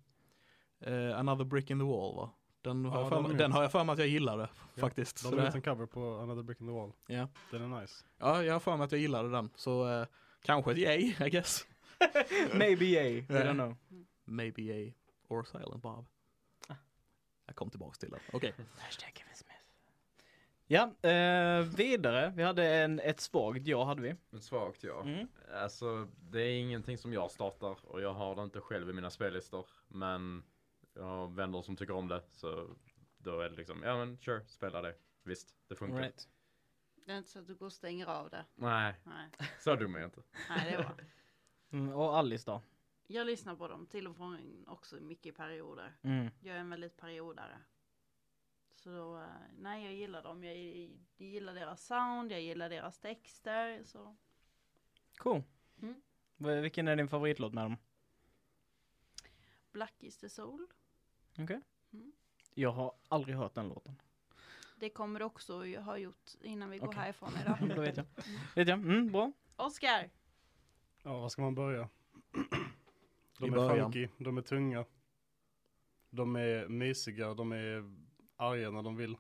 D: eh, Another Brick in the Wall va? Den har,
C: Ja,
D: jag för
C: den
D: mig,
C: minns
D: den
C: jag.
D: har jag för mig att jag gillade faktiskt.
C: De
D: Så
C: har
D: det-
C: gjort en cover på Another Brick in the Wall.
D: Ja.
C: Den är nice.
D: Ja, jag har för mig att jag gillade den. Så eh, kanske ett yay, I guess.
A: Maybe yay, I
D: Ja.
A: don't know.
D: Maybe yay or silent Bob. Jag kom tillbaks till den. Okej.
A: Hashtag Kevin Smith. Ja, eh, vidare. Vi hade en, ett svagt ja, hade vi.
B: Ett svagt ja.
A: Mm.
B: Alltså, det är ingenting som jag startar och jag har det inte själv i mina spellistor. Men jag har vänner som tycker om det, så då är det liksom, ja men sure, spela det. Visst, det funkar.
A: Right.
E: Det är inte så att du går och stänger av det.
B: Nej,
E: Nej,
B: så dum är jag inte.
E: nej det var.
A: Mm, och Alice då?
E: Jag lyssnar på dem till och från också mycket i perioder.
A: Mm.
E: Jag är en väldigt periodare. Så då, eh, nej jag gillar dem. Jag gillar deras sound, jag gillar deras texter. Så.
A: Cool.
E: Mm.
A: V- Vilken är din favoritlåt med dem?
E: Black is the soul.
A: Jag har aldrig hört den låten.
E: Det kommer du också jag har gjort innan vi går
A: Okej.
E: härifrån
A: Då
E: idag.
A: vet jag. Vet jag? Mm, bra.
E: Oscar!
C: Ja, var ska man börja?
D: I
C: De är
D: början.
C: funky, de är tunga. De är mysiga, de är arga när de vill.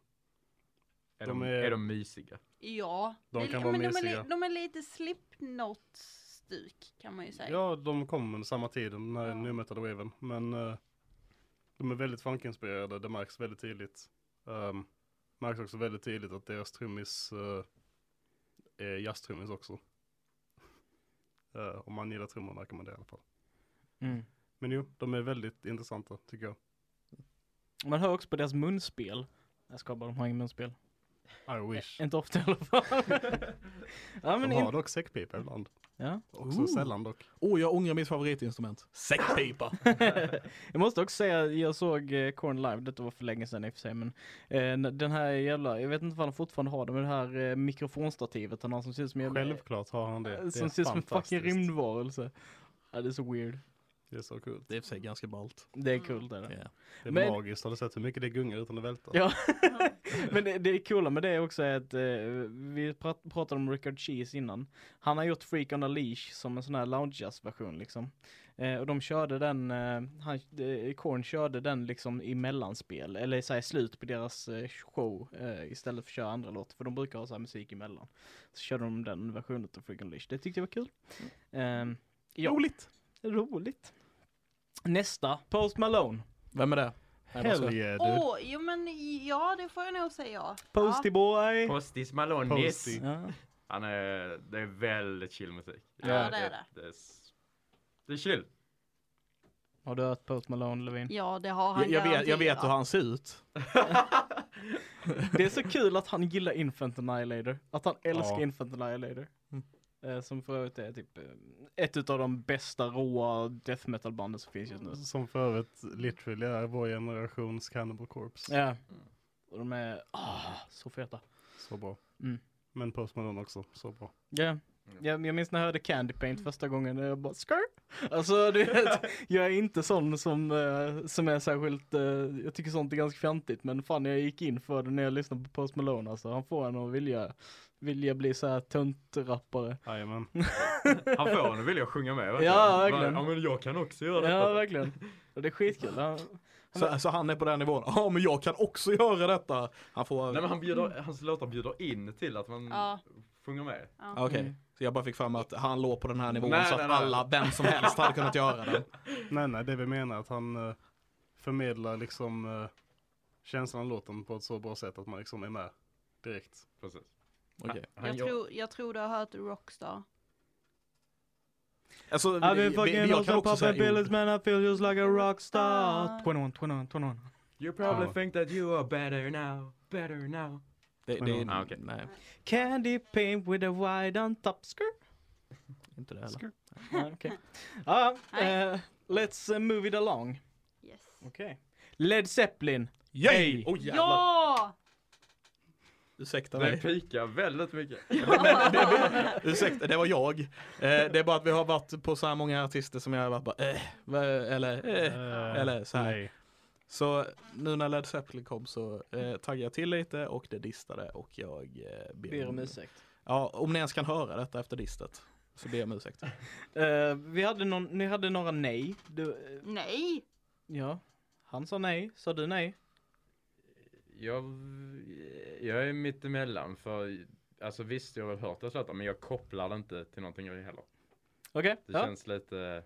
B: Är de,
C: De
B: de,
C: är-
B: är de mysiga?
E: Ja,
C: De
E: det-
C: kan vara
E: men de, är,
C: mysiga.
E: li- de är lite slipknot-stuk kan man ju säga.
C: Ja, de kom under samma tid, den här
E: Ja.
C: new metal waven. Men eh, de är väldigt funkinspirerade, det märks väldigt tydligt. Um, märks också väldigt tydligt att deras trummis eh, är jazztrummis också. Eh, om man gillar trummorna kan man det i alla fall.
A: Mm.
C: Men jo, de är väldigt intressanta tycker jag.
A: Man hör också på deras munspel. Jag ska bara, de har ingen munspel.
C: I wish.
A: Inte ofta i alla fall. ja, men
C: de har
A: in...
C: dock säckpipa ibland.
A: ja.
C: Också
D: Ooh.
C: sällan dock.
D: Åh, jag ångrar mitt favoritinstrument. Säckpipa.
A: jag måste också säga, jag såg eh, Korn live, detta var för länge sedan i och för sig, men eh, den här jävla, jag vet inte vad han fortfarande har det, men det här eh, mikrofonstativet han har som ser ut som en jävla,
C: Självklart har han det. det
A: Eh, som
C: är
A: ser ut som en fucking
C: fantastiskt.
A: rymdvarelse. Ja, det är så weird.
C: Det är så kul.
D: det är i och för sig ganska ballt.
A: Det är kul det. där.
D: Ja.
C: Det är
A: Men-
C: magiskt. Har du sett hur mycket det gungar utan att välta?
A: Ja. Men det, det coola med det är också att eh, vi prat, pratade om Richard Cheese innan. Han har gjort Freak on a Leash som en sån här lounge jazz version liksom. Eh, och de körde den, eh, han, eh, Korn körde den liksom i mellanspel, eller så här, i slut på deras eh, show eh, istället för att köra andra låtar, för de brukar ha så här musik emellan. Så körde de den versionen av Freak on a Leash, det tyckte jag var kul. Eh, ja. Roligt! Roligt! Nästa, Post Malone.
D: Vem är det? Nej, bara så.
A: alltså-
C: Hell yeah dude.
E: Åh, jo men ja det får jag nog säga ja.
A: Posty boy!
B: Postis Malonis.
C: Posty.
A: Ja.
B: Han är, det är väldigt chill musik.
E: Ja, det är det.
B: Det är, s- det är chill.
A: Har du hört Post Malone Levin?
E: Ja det har
D: Jag,
E: han
D: jag, vet, jag vet
E: garanterat.
D: hur han ser ut.
A: Det är så kul att han gillar Infant Annihilator. Att han älskar
C: Ja.
A: Infant Annihilator.
D: Mm.
A: Eh, Som för övrigt är typ eh, ett utav de bästa råa death metal banden som finns just nu.
C: Som för övrigt literally är vår generations Cannibal Corpse.
A: Ja. Och de är ah, så feta.
C: Så bra.
A: Mm.
C: Men Post Malone också, så bra.
A: Ja. Jag, jag minns när jag hörde Candy Paint första gången och jag bara skrrt. Alltså du vet, jag är inte sån som, eh, som är särskilt, eh, jag tycker sånt är ganska fjantigt men fan jag gick in för det när jag lyssnade på Post Malone alltså. Han får en att vilja, vilja bli så här töntrappare.
C: Jajamän.
B: Han får honom vill jag sjunga med.
A: Ja, verkligen.
B: Ja, men jag kan också göra
A: Ja,
B: detta.
A: verkligen. Och det är skitkul. Han,
D: Så, så han är på den nivån. Ja, men jag kan också göra detta. Han får...
B: Nej, men han bjuder, hans låtar bjuder in till att man
E: Ja.
B: sjunger med.
D: Okej, så jag bara fick för mig att han låg på den här nivån
B: Nej,
D: så att
B: nej, nej.
D: alla, vem som helst hade kunnat göra det.
C: nej, nej, det vi menar är att han eh, förmedlar liksom eh, känslan av låten på ett så bra sätt att man liksom är med direkt.
B: Precis.
D: Okej.
B: Han
E: Jag
B: gör-
E: tror, jag tror du har hört Rockstar.
D: Alltså,
A: I've been
D: vi- vi-
A: fucking
D: jag
A: on
D: kan
A: some
D: också
A: poppin'
D: säga
A: pills
D: ord.
A: man I feel just like a rockstar
E: Rockstar.
A: 21, 21, 21
F: You probably
C: Ja.
F: think that you are better now, better now.
D: Det, det,
B: Ah, okej.
D: Nej,
A: Candy paint with a wide on top skirt.
D: inte det heller.
A: Skrrt. Ja, Okej. Ja,
E: Nej.
A: eh, let's eh, move it along.
E: Yes.
A: Okej. Led Zeppelin.
D: Yay! Oj jävlar!
E: ja!
D: Ursäkta
B: Den
D: mig.
B: pikar väldigt mycket.
D: Ursäkta, det var jag. Eh, det är bara att vi har varit på så här många artister som jag har varit bara eh, va- eller eh.
C: Eh,
D: Eller så här.
C: Nej.
D: Så nu när Led Zeppelin kom så eh, taggade jag till lite och det distade och jag eh,
A: Ber om ursäkt.
D: Ja, om ni ens kan höra detta efter distet så ber jag om ursäkt.
A: Eh, vi hade någon, ni hade några nej. Du, eh,
E: Nej!
A: ja. Han sa nej, sa du nej?
B: Jag, jag är mittemellan för alltså visst jag har väl hört det låtar men jag kopplar det inte till någonting heller.
A: Okej,
B: Det
A: ja.
B: känns lite,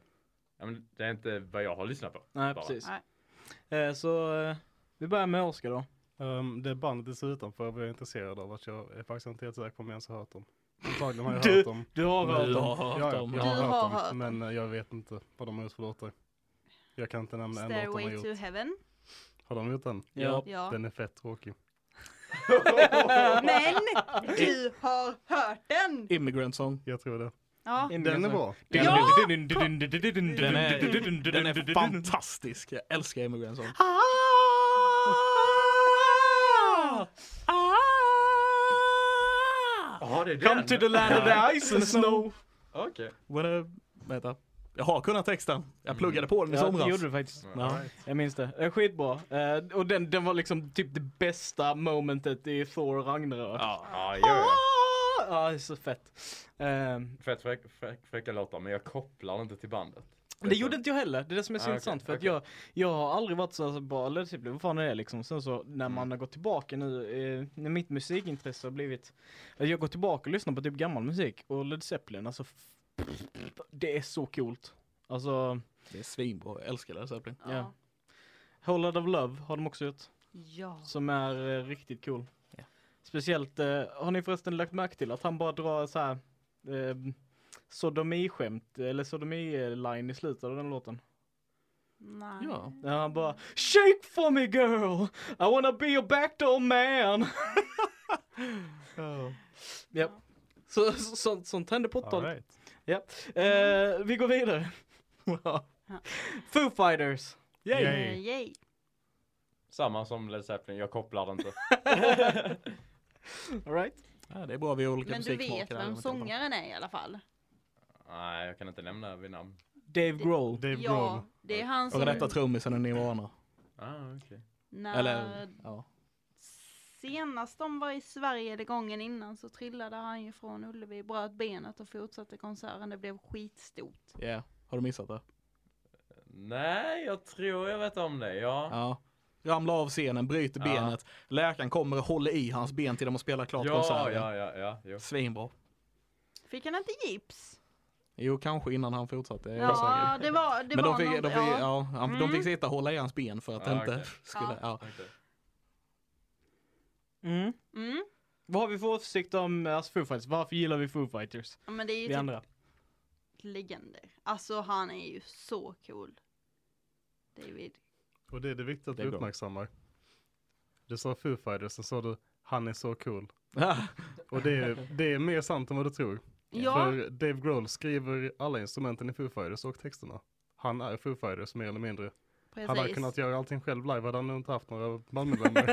B: ja, men det är inte vad jag har lyssnat på.
A: Nej,
B: bara.
A: precis.
E: Nej.
A: Eh, så eh, vi börjar med Oskar då.
C: Ehm, det bandet dessutom för jag är intresserad av att jag är faktiskt inte helt säker på om jag ens har hört dem. Antagligen har jag hört dem.
A: Du har
D: hört
A: hört
D: dem.
A: dem.
D: har hört
C: ja, ja,
D: dem.
C: Jag
E: Du
C: har hört
E: har
C: dem,
E: hört dem.
C: men eh, jag vet inte vad de har gjort för låtar. Jag kan inte nämna en låt de har
E: Stairway to
C: gjort.
E: heaven.
C: Har de gjort den?
A: Ja.
E: Ja.
C: Den är fett tråkig.
E: Men du har hört den!
D: Immigrant Song.
C: Jag tror det.
E: Ja.
C: Den är bra.
A: Den
E: Ja!
D: Den är, den är fantastisk. Jag älskar Immigrant Song.
B: Ja, det är
A: Come to the land of the ice and snow.
B: Okej.
D: What a... Vänta. Jag har kunnat texten. Jag pluggade på den i
A: Ja, det
D: somras.
A: gjorde du faktiskt.
D: Ja.
A: Jag minns det. Eh, Skitbra. Eh, och den, den var liksom typ det bästa momentet i Thor Ragnarök.
B: Ja, ja, ja.
A: Ah, Ja, det är så fett. Ehm,
B: Fett fräck, fräck, fräcka låtar men jag kopplar det inte till bandet.
A: det gjorde inte jag heller. Det är det som är så
B: Ah, okej,
A: intressant. För att
B: okej.
A: jag, jag har aldrig varit så här, så bara Led Zeppelin, vad fan är det liksom. Sen så
B: Mm.
A: när man har gått tillbaka nu, eh, när mitt musikintresse har blivit, att jag går tillbaka och lyssnar på typ gammal musik och Led Zeppelin, alltså f- det är så coolt. Alltså,
D: Det är svinbra. Jag älskar Led Zeppelin.
A: Ja. Whole Lot of Love har de också gjort.
E: Ja.
A: Som är eh, riktigt cool.
D: Ja.
A: Speciellt, eh, har ni förresten lagt märke till att han bara drar så här eh, sodomi-skämt eller sodomi-line i slutet av den låten?
E: Nej.
D: Ja.
A: Där han bara Shake for me girl, I wanna be your backdoor man. Japp. Så, så, sånt- sånt hände på 80
C: All right.
A: eh, Vi går vidare. Foo Fighters.
C: Yay.
E: Eh, Yay.
B: Samma som Led Zeppelin, jag kopplar det inte.
A: All right.
D: Ja, det är bra vi har olika
E: Men du vet
D: musiksmaker här, men i
E: vem
D: alla fall.
E: sångaren är i alla fall.
B: Nej, jag kan inte nämna vid namn.
A: Dave Grohl.
C: Dave
E: Ja,
C: Grohl.
E: det är han
D: Före detta
E: som
D: trummisen i Nirvana.
B: Ah, okej.
E: när
D: Eller, ja.
E: senast de var i Sverige eller gången innan så trillade han ju från Ullevi, bröt benet och fortsatte konserten. Det blev skitstort.
D: Yeah. Har du missat det?
B: Nej, jag tror jag vet om det. Ja,
D: Ja. Ramlar av scenen, bryter
B: Ja.
D: benet. Läkaren kommer och håller i hans ben till de har spelat klart
B: ja,
D: konserten.
B: ja, ja, ja. Jo.
D: Svinbra.
E: Fick han inte gips?
D: Jo, kanske innan han fortsatte. jag är osäker.
E: Ja, det var, det
D: Men
E: var
D: de fick,
E: någon,
D: de, fick,
E: ja.
D: ja. han, de
E: Mm.
D: fick sitta och hålla i hans ben för att
B: Ja,
D: det inte
B: okej.
D: skulle... Ja.
B: Okej.
A: Mm.
E: Mm.
A: Vad har vi för åsikt om eh, alltså, Foo Fighters? Varför gillar vi Foo Fighters?
E: ja, men det är ju
A: Vi
E: typ
A: andra.
E: legender. Alltså han är ju så cool. David.
C: Och det är det viktiga att
D: Det
C: vi
D: är bra.
C: uppmärksammar. Du sa Foo Fighters, sen sa du han är så cool.
D: Ja.
C: Och det är, det är mer sant än vad du tror.
E: Ja,
C: För Dave Grohl skriver alla instrumenten i Foo Fighters och texterna. Han är Foo Fighters mer eller mindre. Han hade
E: precis.
C: kunnat göra allting själv live hade han nog inte haft några bandmedlemmar.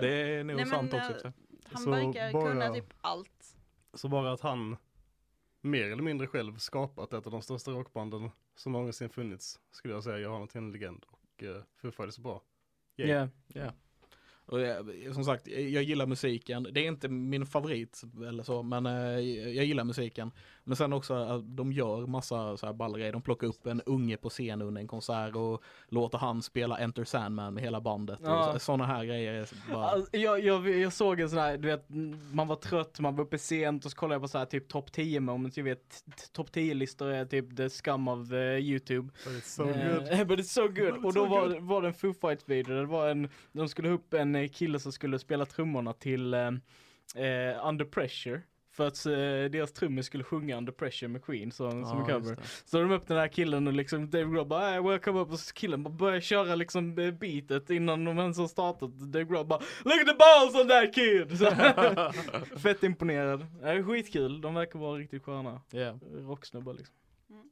D: det är nog
E: Nej, men,
D: sant också.
E: eh,
D: i och för sig.
E: Han
C: Så
E: verkar
C: bara-
E: kunna typ allt.
C: Så bara att han mer eller mindre själv skapat ett av de största rockbanden som någonsin funnits skulle jag säga gör honom till en legend. Och uh, Foo Fighters är bra. Yay.
A: Yeah.
D: Och jag, som sagt, eh, jag gillar musiken. Det är inte min favorit eller så, men eh, jag gillar musiken. Men sen också att de gör massa så här ballgrejer. De plockar upp en unge på scen under en konsert och låter han spela Enter Sandman med hela bandet.
A: Ja.
D: Och sådana här grejer. är Bara,
A: Alltså, jag, jag, jag såg en sån här, du vet, man var trött, man var uppe sent och så kollade jag på så här typ topp 10 moments, jag vet, t- t- topp 10-listor är typ the scum of eh, YouTube.
C: But it's so
A: Eh,
C: good.
A: But it's so good. Och då var, var det en Foo Fights video, det var en, de skulle upp en eh, kille som skulle spela trummorna till eh, eh, Under Pressure För att eh, deras trummis skulle sjunga Under Pressure med Queen som, som en
D: Ja, just
A: cover.
D: det.
A: Så de upp den här killen och liksom Dave Grohl bara äh, welcome up och så killen bara börjar köra liksom eh, beatet innan de ens har startat. Dave Grohl bara look at the balls on that kid! Så, fett imponerad. Ja, Det är skitkul, de verkar vara riktigt sköna
D: Yeah.
A: rocksnubbar liksom.
E: Mm.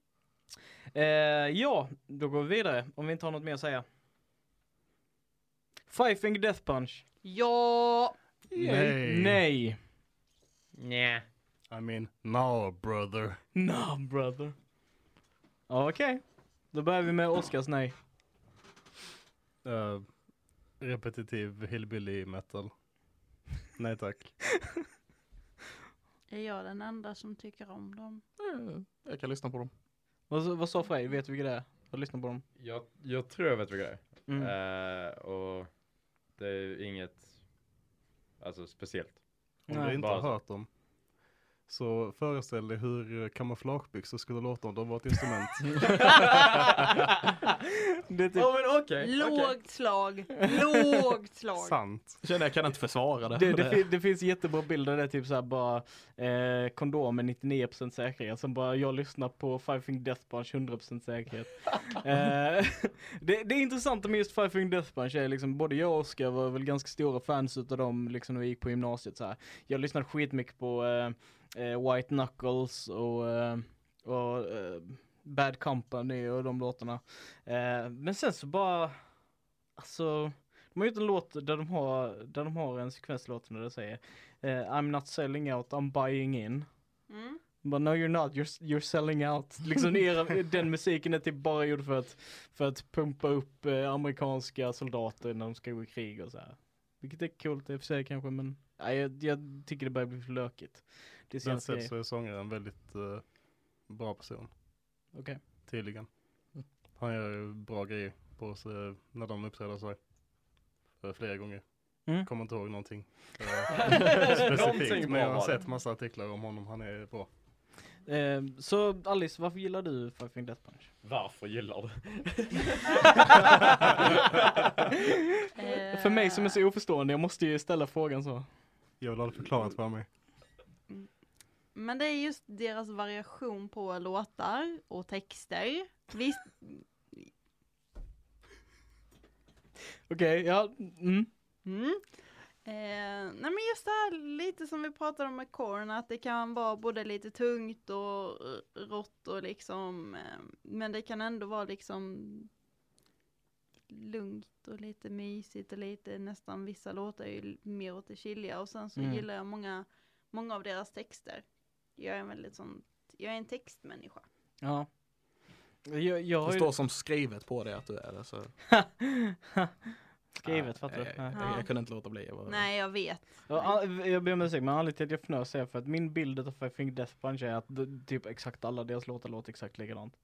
A: Eh, ja, då går vi vidare om vi inte har något mer att säga. Five Finger Death Punch.
E: Ja!
C: Nej.
A: Nej.
F: Nja.
C: I mean, no brother.
A: No brother. Okej. Då börjar vi med Oscars nej.
C: Eh, repetitiv hillbilly metal. Nej tack.
E: Är jag den enda som tycker om dem?
D: Mm, Jag kan lyssna på dem.
A: Vad, vad sa Frej? Vet du vilka det är? Har du lyssnat på dem?
B: Jag, jag tror jag vet vilka det är.
A: Mm.
B: Eh, och det är ju inget alltså, speciellt.
C: Om
A: Nej.
C: du inte
B: Bara så.
C: har hört dem. Så föreställ dig hur eh, kamouflagebyxor skulle låta om de var ett instrument.
A: det är typ,
B: Ja men okej.
E: Lågt slag! Lågt slag!
C: Sant.
D: Känner jag kan inte försvara det.
A: det, det, fin, det finns jättebra bilder där typ såhär bara eh, kondom med 99% säkerhet som bara jag lyssnar på Five Finger Death Punch 100% säkerhet. eh, det, det är intressant med just Five Finger Death Punch är liksom både jag och Oskar var väl ganska stora fans utav dem liksom när vi gick på gymnasiet så här. Jag lyssnade skitmycket på eh, eh, White Knuckles och, eh, och eh, Bad Company och de låtarna. Eh, men sen så bara, alltså de har gjort en låt där de har, där de har en sekvenslåt där det säger eh, I'm not selling out, I'm buying in.
E: Mm.
A: But no you're not, you're, you're selling out. Liksom era, den musiken är typ bara gjord för att, för att pumpa upp eh, amerikanska soldater när de ska gå i krig och så här. Vilket är coolt i och för sig kanske men nej, jag, jag tycker det börjar bli för lökigt. Det är så
C: Sen
A: jävla
C: sett
A: grejer.
C: så är sångaren väldigt eh, bra person.
A: Okej.
C: Tydligen.
B: Mm.
C: Han gör ju bra grejer på sig eh, när de uppträder sig. Eh, Flera gånger.
A: Mm.
C: Kommer inte ihåg någonting. eh,
B: Någonting
C: Specifikt.
B: bra
C: Men jag har
B: var det.
C: sett massa artiklar om honom. Han är bra.
A: Eh, så Alice, varför gillar du Five Finger Death Punch?
B: Varför gillar du?
E: Eh,
A: För mig som är så oförstående, jag måste ju ställa frågan så.
C: Jag vill ha det förklarat för mig.
E: Men det är just deras variation på låtar och texter. Visst,
A: Okej, ja. Mm.
E: Mm. Eh, nej men just det här lite som vi pratade om med korn, att det kan vara både lite tungt och eh, rått och liksom, eh, men det kan ändå vara liksom lugnt och lite mysigt och lite nästan vissa låtar är ju mer åt det chilliga och sen så
A: Mm.
E: gillar jag många, många av deras texter. Jag är en väldigt sån, jag är en textmänniska.
A: Ja. Jag, jag har
D: Det
A: ju-
D: står som skrivet på det att du är det. Så.
A: Skrivet,
D: Ah,
A: fattar du?
D: eh,
A: Nej.
D: Jag, jag kunde inte låta bli. Jag var...
E: Nej jag vet.
A: Jag, all- jag ber om ursäkt men anledningen till att jag fnös är för att min bild av Five Finger Death Punch är att d- typ exakt alla deras låtar låter exakt likadant.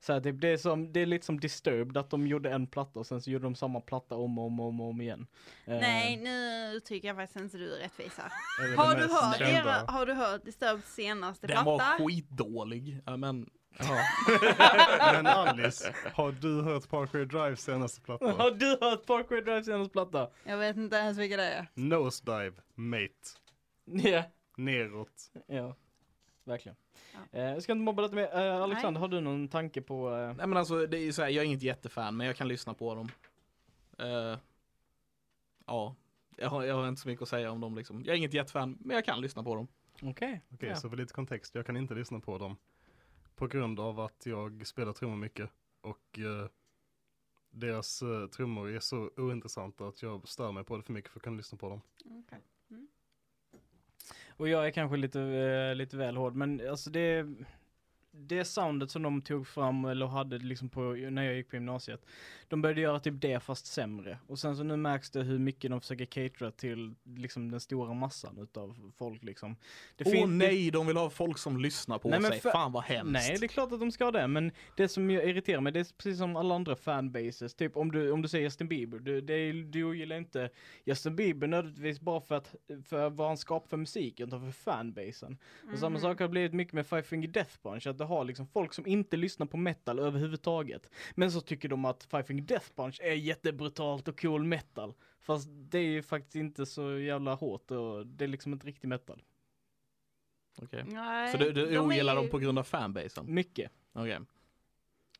A: Så här, typ, det, är som, det är lite som Disturbed att de gjorde en platta och sen så gjorde de samma platta om och om och om, och om igen. Eh,
E: Nej nu tycker jag faktiskt inte du är rättvis här.
C: Är det
E: Har
C: det
E: du,
C: mest
E: hört
C: kända?
E: era, har du hört Disturbed senaste
D: Den var
E: platta?
D: skitdålig. Ja, men, ja.
C: Men Alice, har du hört Parkway Drive senaste
A: Har
C: platta?
A: du hört Parkway Drive senaste platta?
E: Jag vet inte ens vilka det är.
C: Nosedive, mate.
A: Ja,
C: Neråt.
A: ja. Verkligen. Eh, jag ska inte mobba lite mer. Eh, Alexander,
E: Nej.
A: har du någon tanke på... eh,
D: Nej men alltså det är ju så här, jag är inget jättefan men jag kan lyssna på dem. Eh, ja, jag har, jag har inte så mycket att säga om dem liksom. Jag är inget jättefan men jag kan lyssna på dem.
A: Okej.
C: Okej,
A: Ja.
C: så för lite kontext. Jag kan inte lyssna på dem. På grund av att jag spelar trummor mycket. Och eh, deras eh, trummor är så ointressanta att jag stör mig på det för mycket för att kunna lyssna på dem.
A: Och jag är kanske lite, eh, lite väl hård, men alltså det, det soundet som de tog fram eller hade liksom på, när jag gick på gymnasiet, de började göra typ det fast sämre. Och sen så nu märks det hur mycket de försöker catera till liksom den stora massan utav folk liksom. Det
D: Åh
A: fin- det-
D: nej, de vill ha folk som lyssnar på
A: Nej, men
D: sig.
A: för-
D: Fan vad hemskt.
A: Nej, det är klart att de ska det, men det som jag irriterar mig, det är precis som alla andra fanbases. Typ om du, om du säger Justin Bieber, du, det, är- du gillar inte Justin Bieber nödvändigtvis bara för, att, för vad han skapar för musik, utan för fanbasen. Och samma sak har blivit mycket med Five Finger Death Punch, att du har liksom folk som inte lyssnar på metal överhuvudtaget. Men så tycker de att Five Finger Death Punch är jättebrutalt och cool metal. Fast det är ju faktiskt inte så jävla hårt och det är liksom inte riktig metal.
D: Okej.
E: Nej,
D: Så du, du
E: de är
D: ogillar
E: ju-
D: dem på grund av fanbasen?
A: Mycket.
D: Okej.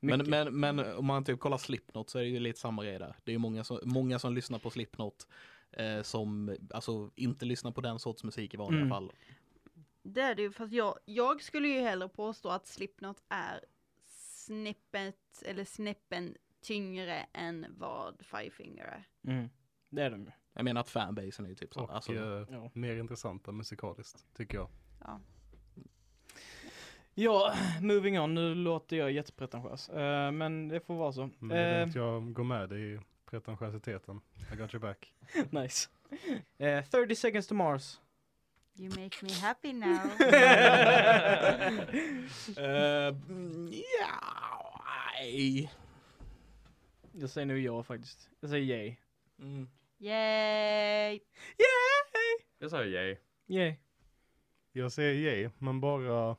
D: Men,
A: Mm. mycket.
D: men, men om man typ kollar Slipknot så är det ju lite samma grej där. Det är ju många som, många som lyssnar på Slipknot eh, som alltså inte lyssnar på den sorts musik i vanliga
A: Mm.
D: fall.
E: Det är det ju, fast jag, jag skulle ju hellre påstå att Slipknot är snippet eller snäppen tyngre än vad Five Finger är.
A: Mm. Det är de ju.
D: Jag menar att fanbasen är ju typ så.
C: Och
D: Alltså,
C: eh,
A: Ja.
C: mer intressanta musikaliskt, tycker jag.
A: ja, moving on. Nu låter jag jättepretentiös. Eh, men det får vara så.
C: Men Mm, det är
A: Eh,
C: lugnt, jag går med dig i pretentiösiteten. I got your back.
A: nice. Eh, 30 seconds to Mars.
E: You make me happy now.
D: eh, mm, ja, nej.
A: jag säger nu ja faktiskt. Jag säger yay.
D: Mm.
E: Yay!
A: Yay!
B: Jag säger yay.
A: Yay.
C: Jag säger yay, men bara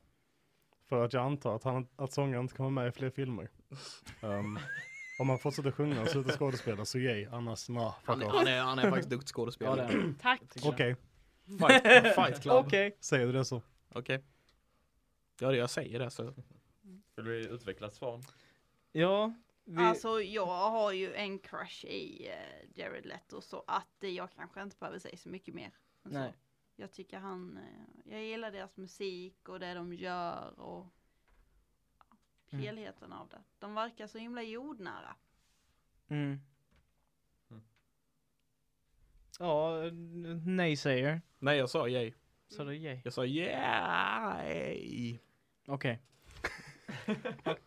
C: för att jag antar att, han, att sångaren inte kommer med i fler filmer. Ehm, om han fortsätter sjunga och slutar skådespela så yay, annars nah,
D: Han,
C: fuck
D: är-
C: off.
D: Mm. han, är, han är faktiskt duktig
A: Ja, det
D: skådespelare.
A: är det.
E: Tack!
A: Tycker jag.
C: Okej,
D: fight, fight Club. Okej.
A: Okej.
C: säger du det så.
D: Ja, det jag säger det så.
B: Vill vi utveckla ett svar?
A: Ja. Vi...
E: Alltså jag har ju en crush i eh, Jared Leto så att eh, jag kanske inte behöver säga så mycket mer. än så.
A: Nej.
E: Jag tycker han, eh, jag gillar deras musik och det de gör och ja,
A: Mm.
E: helheten av det. De verkar så himla jordnära.
A: Mm.
B: Mm.
A: Ja, n- nej-säger.
D: Nej, jag sa yay.
A: Så det är yay.
D: Jag sa yay.
A: Okej.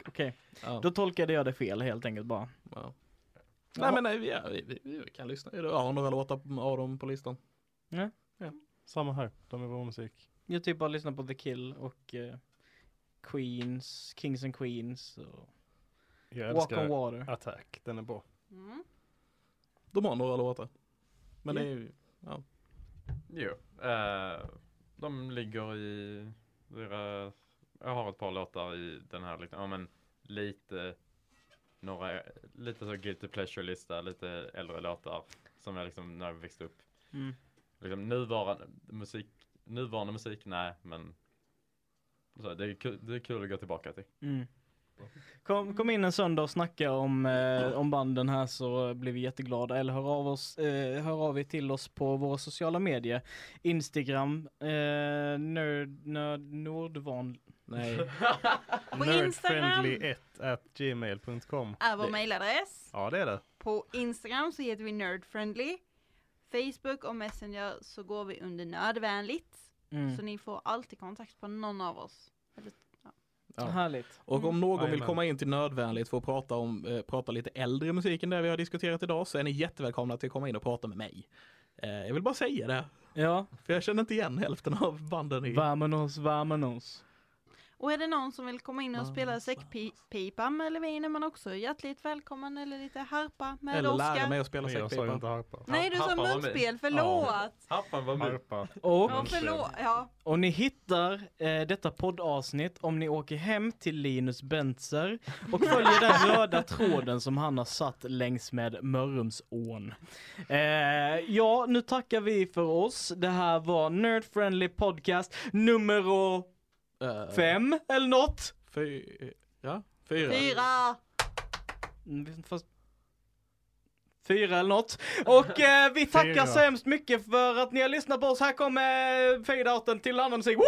A: Okej,
D: Ja.
A: då tolkade jag det fel helt enkelt bara.
D: Ja.
A: Ja.
D: Nej men nej, vi, ja, vi, vi, vi kan lyssna. Jag har några låtar av dem på listan.
C: Samma här, de är vår musik.
A: Jag typ bara lyssnar på The Kill och eh, Queens, Kings and Queens och
C: Jag
A: Walk on
C: älskar
A: Water.
C: Attack, den är bra.
E: Mm.
D: De har några låtar. Men det är ju,
B: Jo. eh, de ligger i deras... Jag har ett par låtar i den här liksom, ja men lite några, lite så guilty pleasure-lista, lite äldre låtar som jag liksom när jag växte upp.
A: Mm.
B: Liksom nuvarande musik, nuvarande musik, nej men så, det, är kul, det är kul att gå tillbaka till.
A: Mm. Kom, kom in en söndag och snacka om, eh, om banden här så blir vi jätteglada. Eller hör av, oss, eh, hör av er till oss på våra sociala medier. Instagram, eh, nerd, nerd, nordvan...
D: nej.
E: På Instagram
C: 1 at gmail.com.
E: är vår
D: Det-
E: mailadress.
C: Ja, det är det.
E: På Instagram så heter vi Nerdfriendly. Facebook och Messenger så går vi under Nördvänligt.
A: Mm.
E: Så ni får alltid kontakt på någon av oss. Eller-
D: Ja.
A: Härligt.
D: Och om någon vill
C: Jajamän.
D: komma in till Nödvändigt för att prata om, eh, prata lite äldre musik än det vi har diskuterat idag så är ni jättevälkomna till att komma in och prata med mig. Eh, jag vill bara säga det,
A: Ja.
D: för jag känner inte igen hälften av banden i...
A: Vamonos, vamonos.
E: Och är det någon som vill komma in och spela säckpipa med Levin är man också hjärtligt välkommen eller lite harpa med
D: Eller lära
E: Oskar.
D: mig att spela
C: Men jag sa ju inte
D: säckpipa.
C: harpa.
E: Nej du sa
B: Harpa var med.
E: munspel, förlåt!
B: Happan var med.
C: Harpa.
A: Och
E: Ja, förlåt. Ja.
A: Och ni hittar eh, detta poddavsnitt om ni åker hem till Linus Bentzer och följer den röda tråden som han har satt längs med Mörrumsån. Eh, ja, nu tackar vi för oss. Det här var Nerd Friendly Podcast nummer
D: Eh,
A: fem eller något.
D: fy- ja, fyra.
E: Fyra!
A: Mm, Fast... Fyra eller något. Och eh, vi tackar
C: Fyra.
A: så hemskt mycket för att ni har lyssnat på oss. Här kommer eh, fade-outen till annan musik. Woo!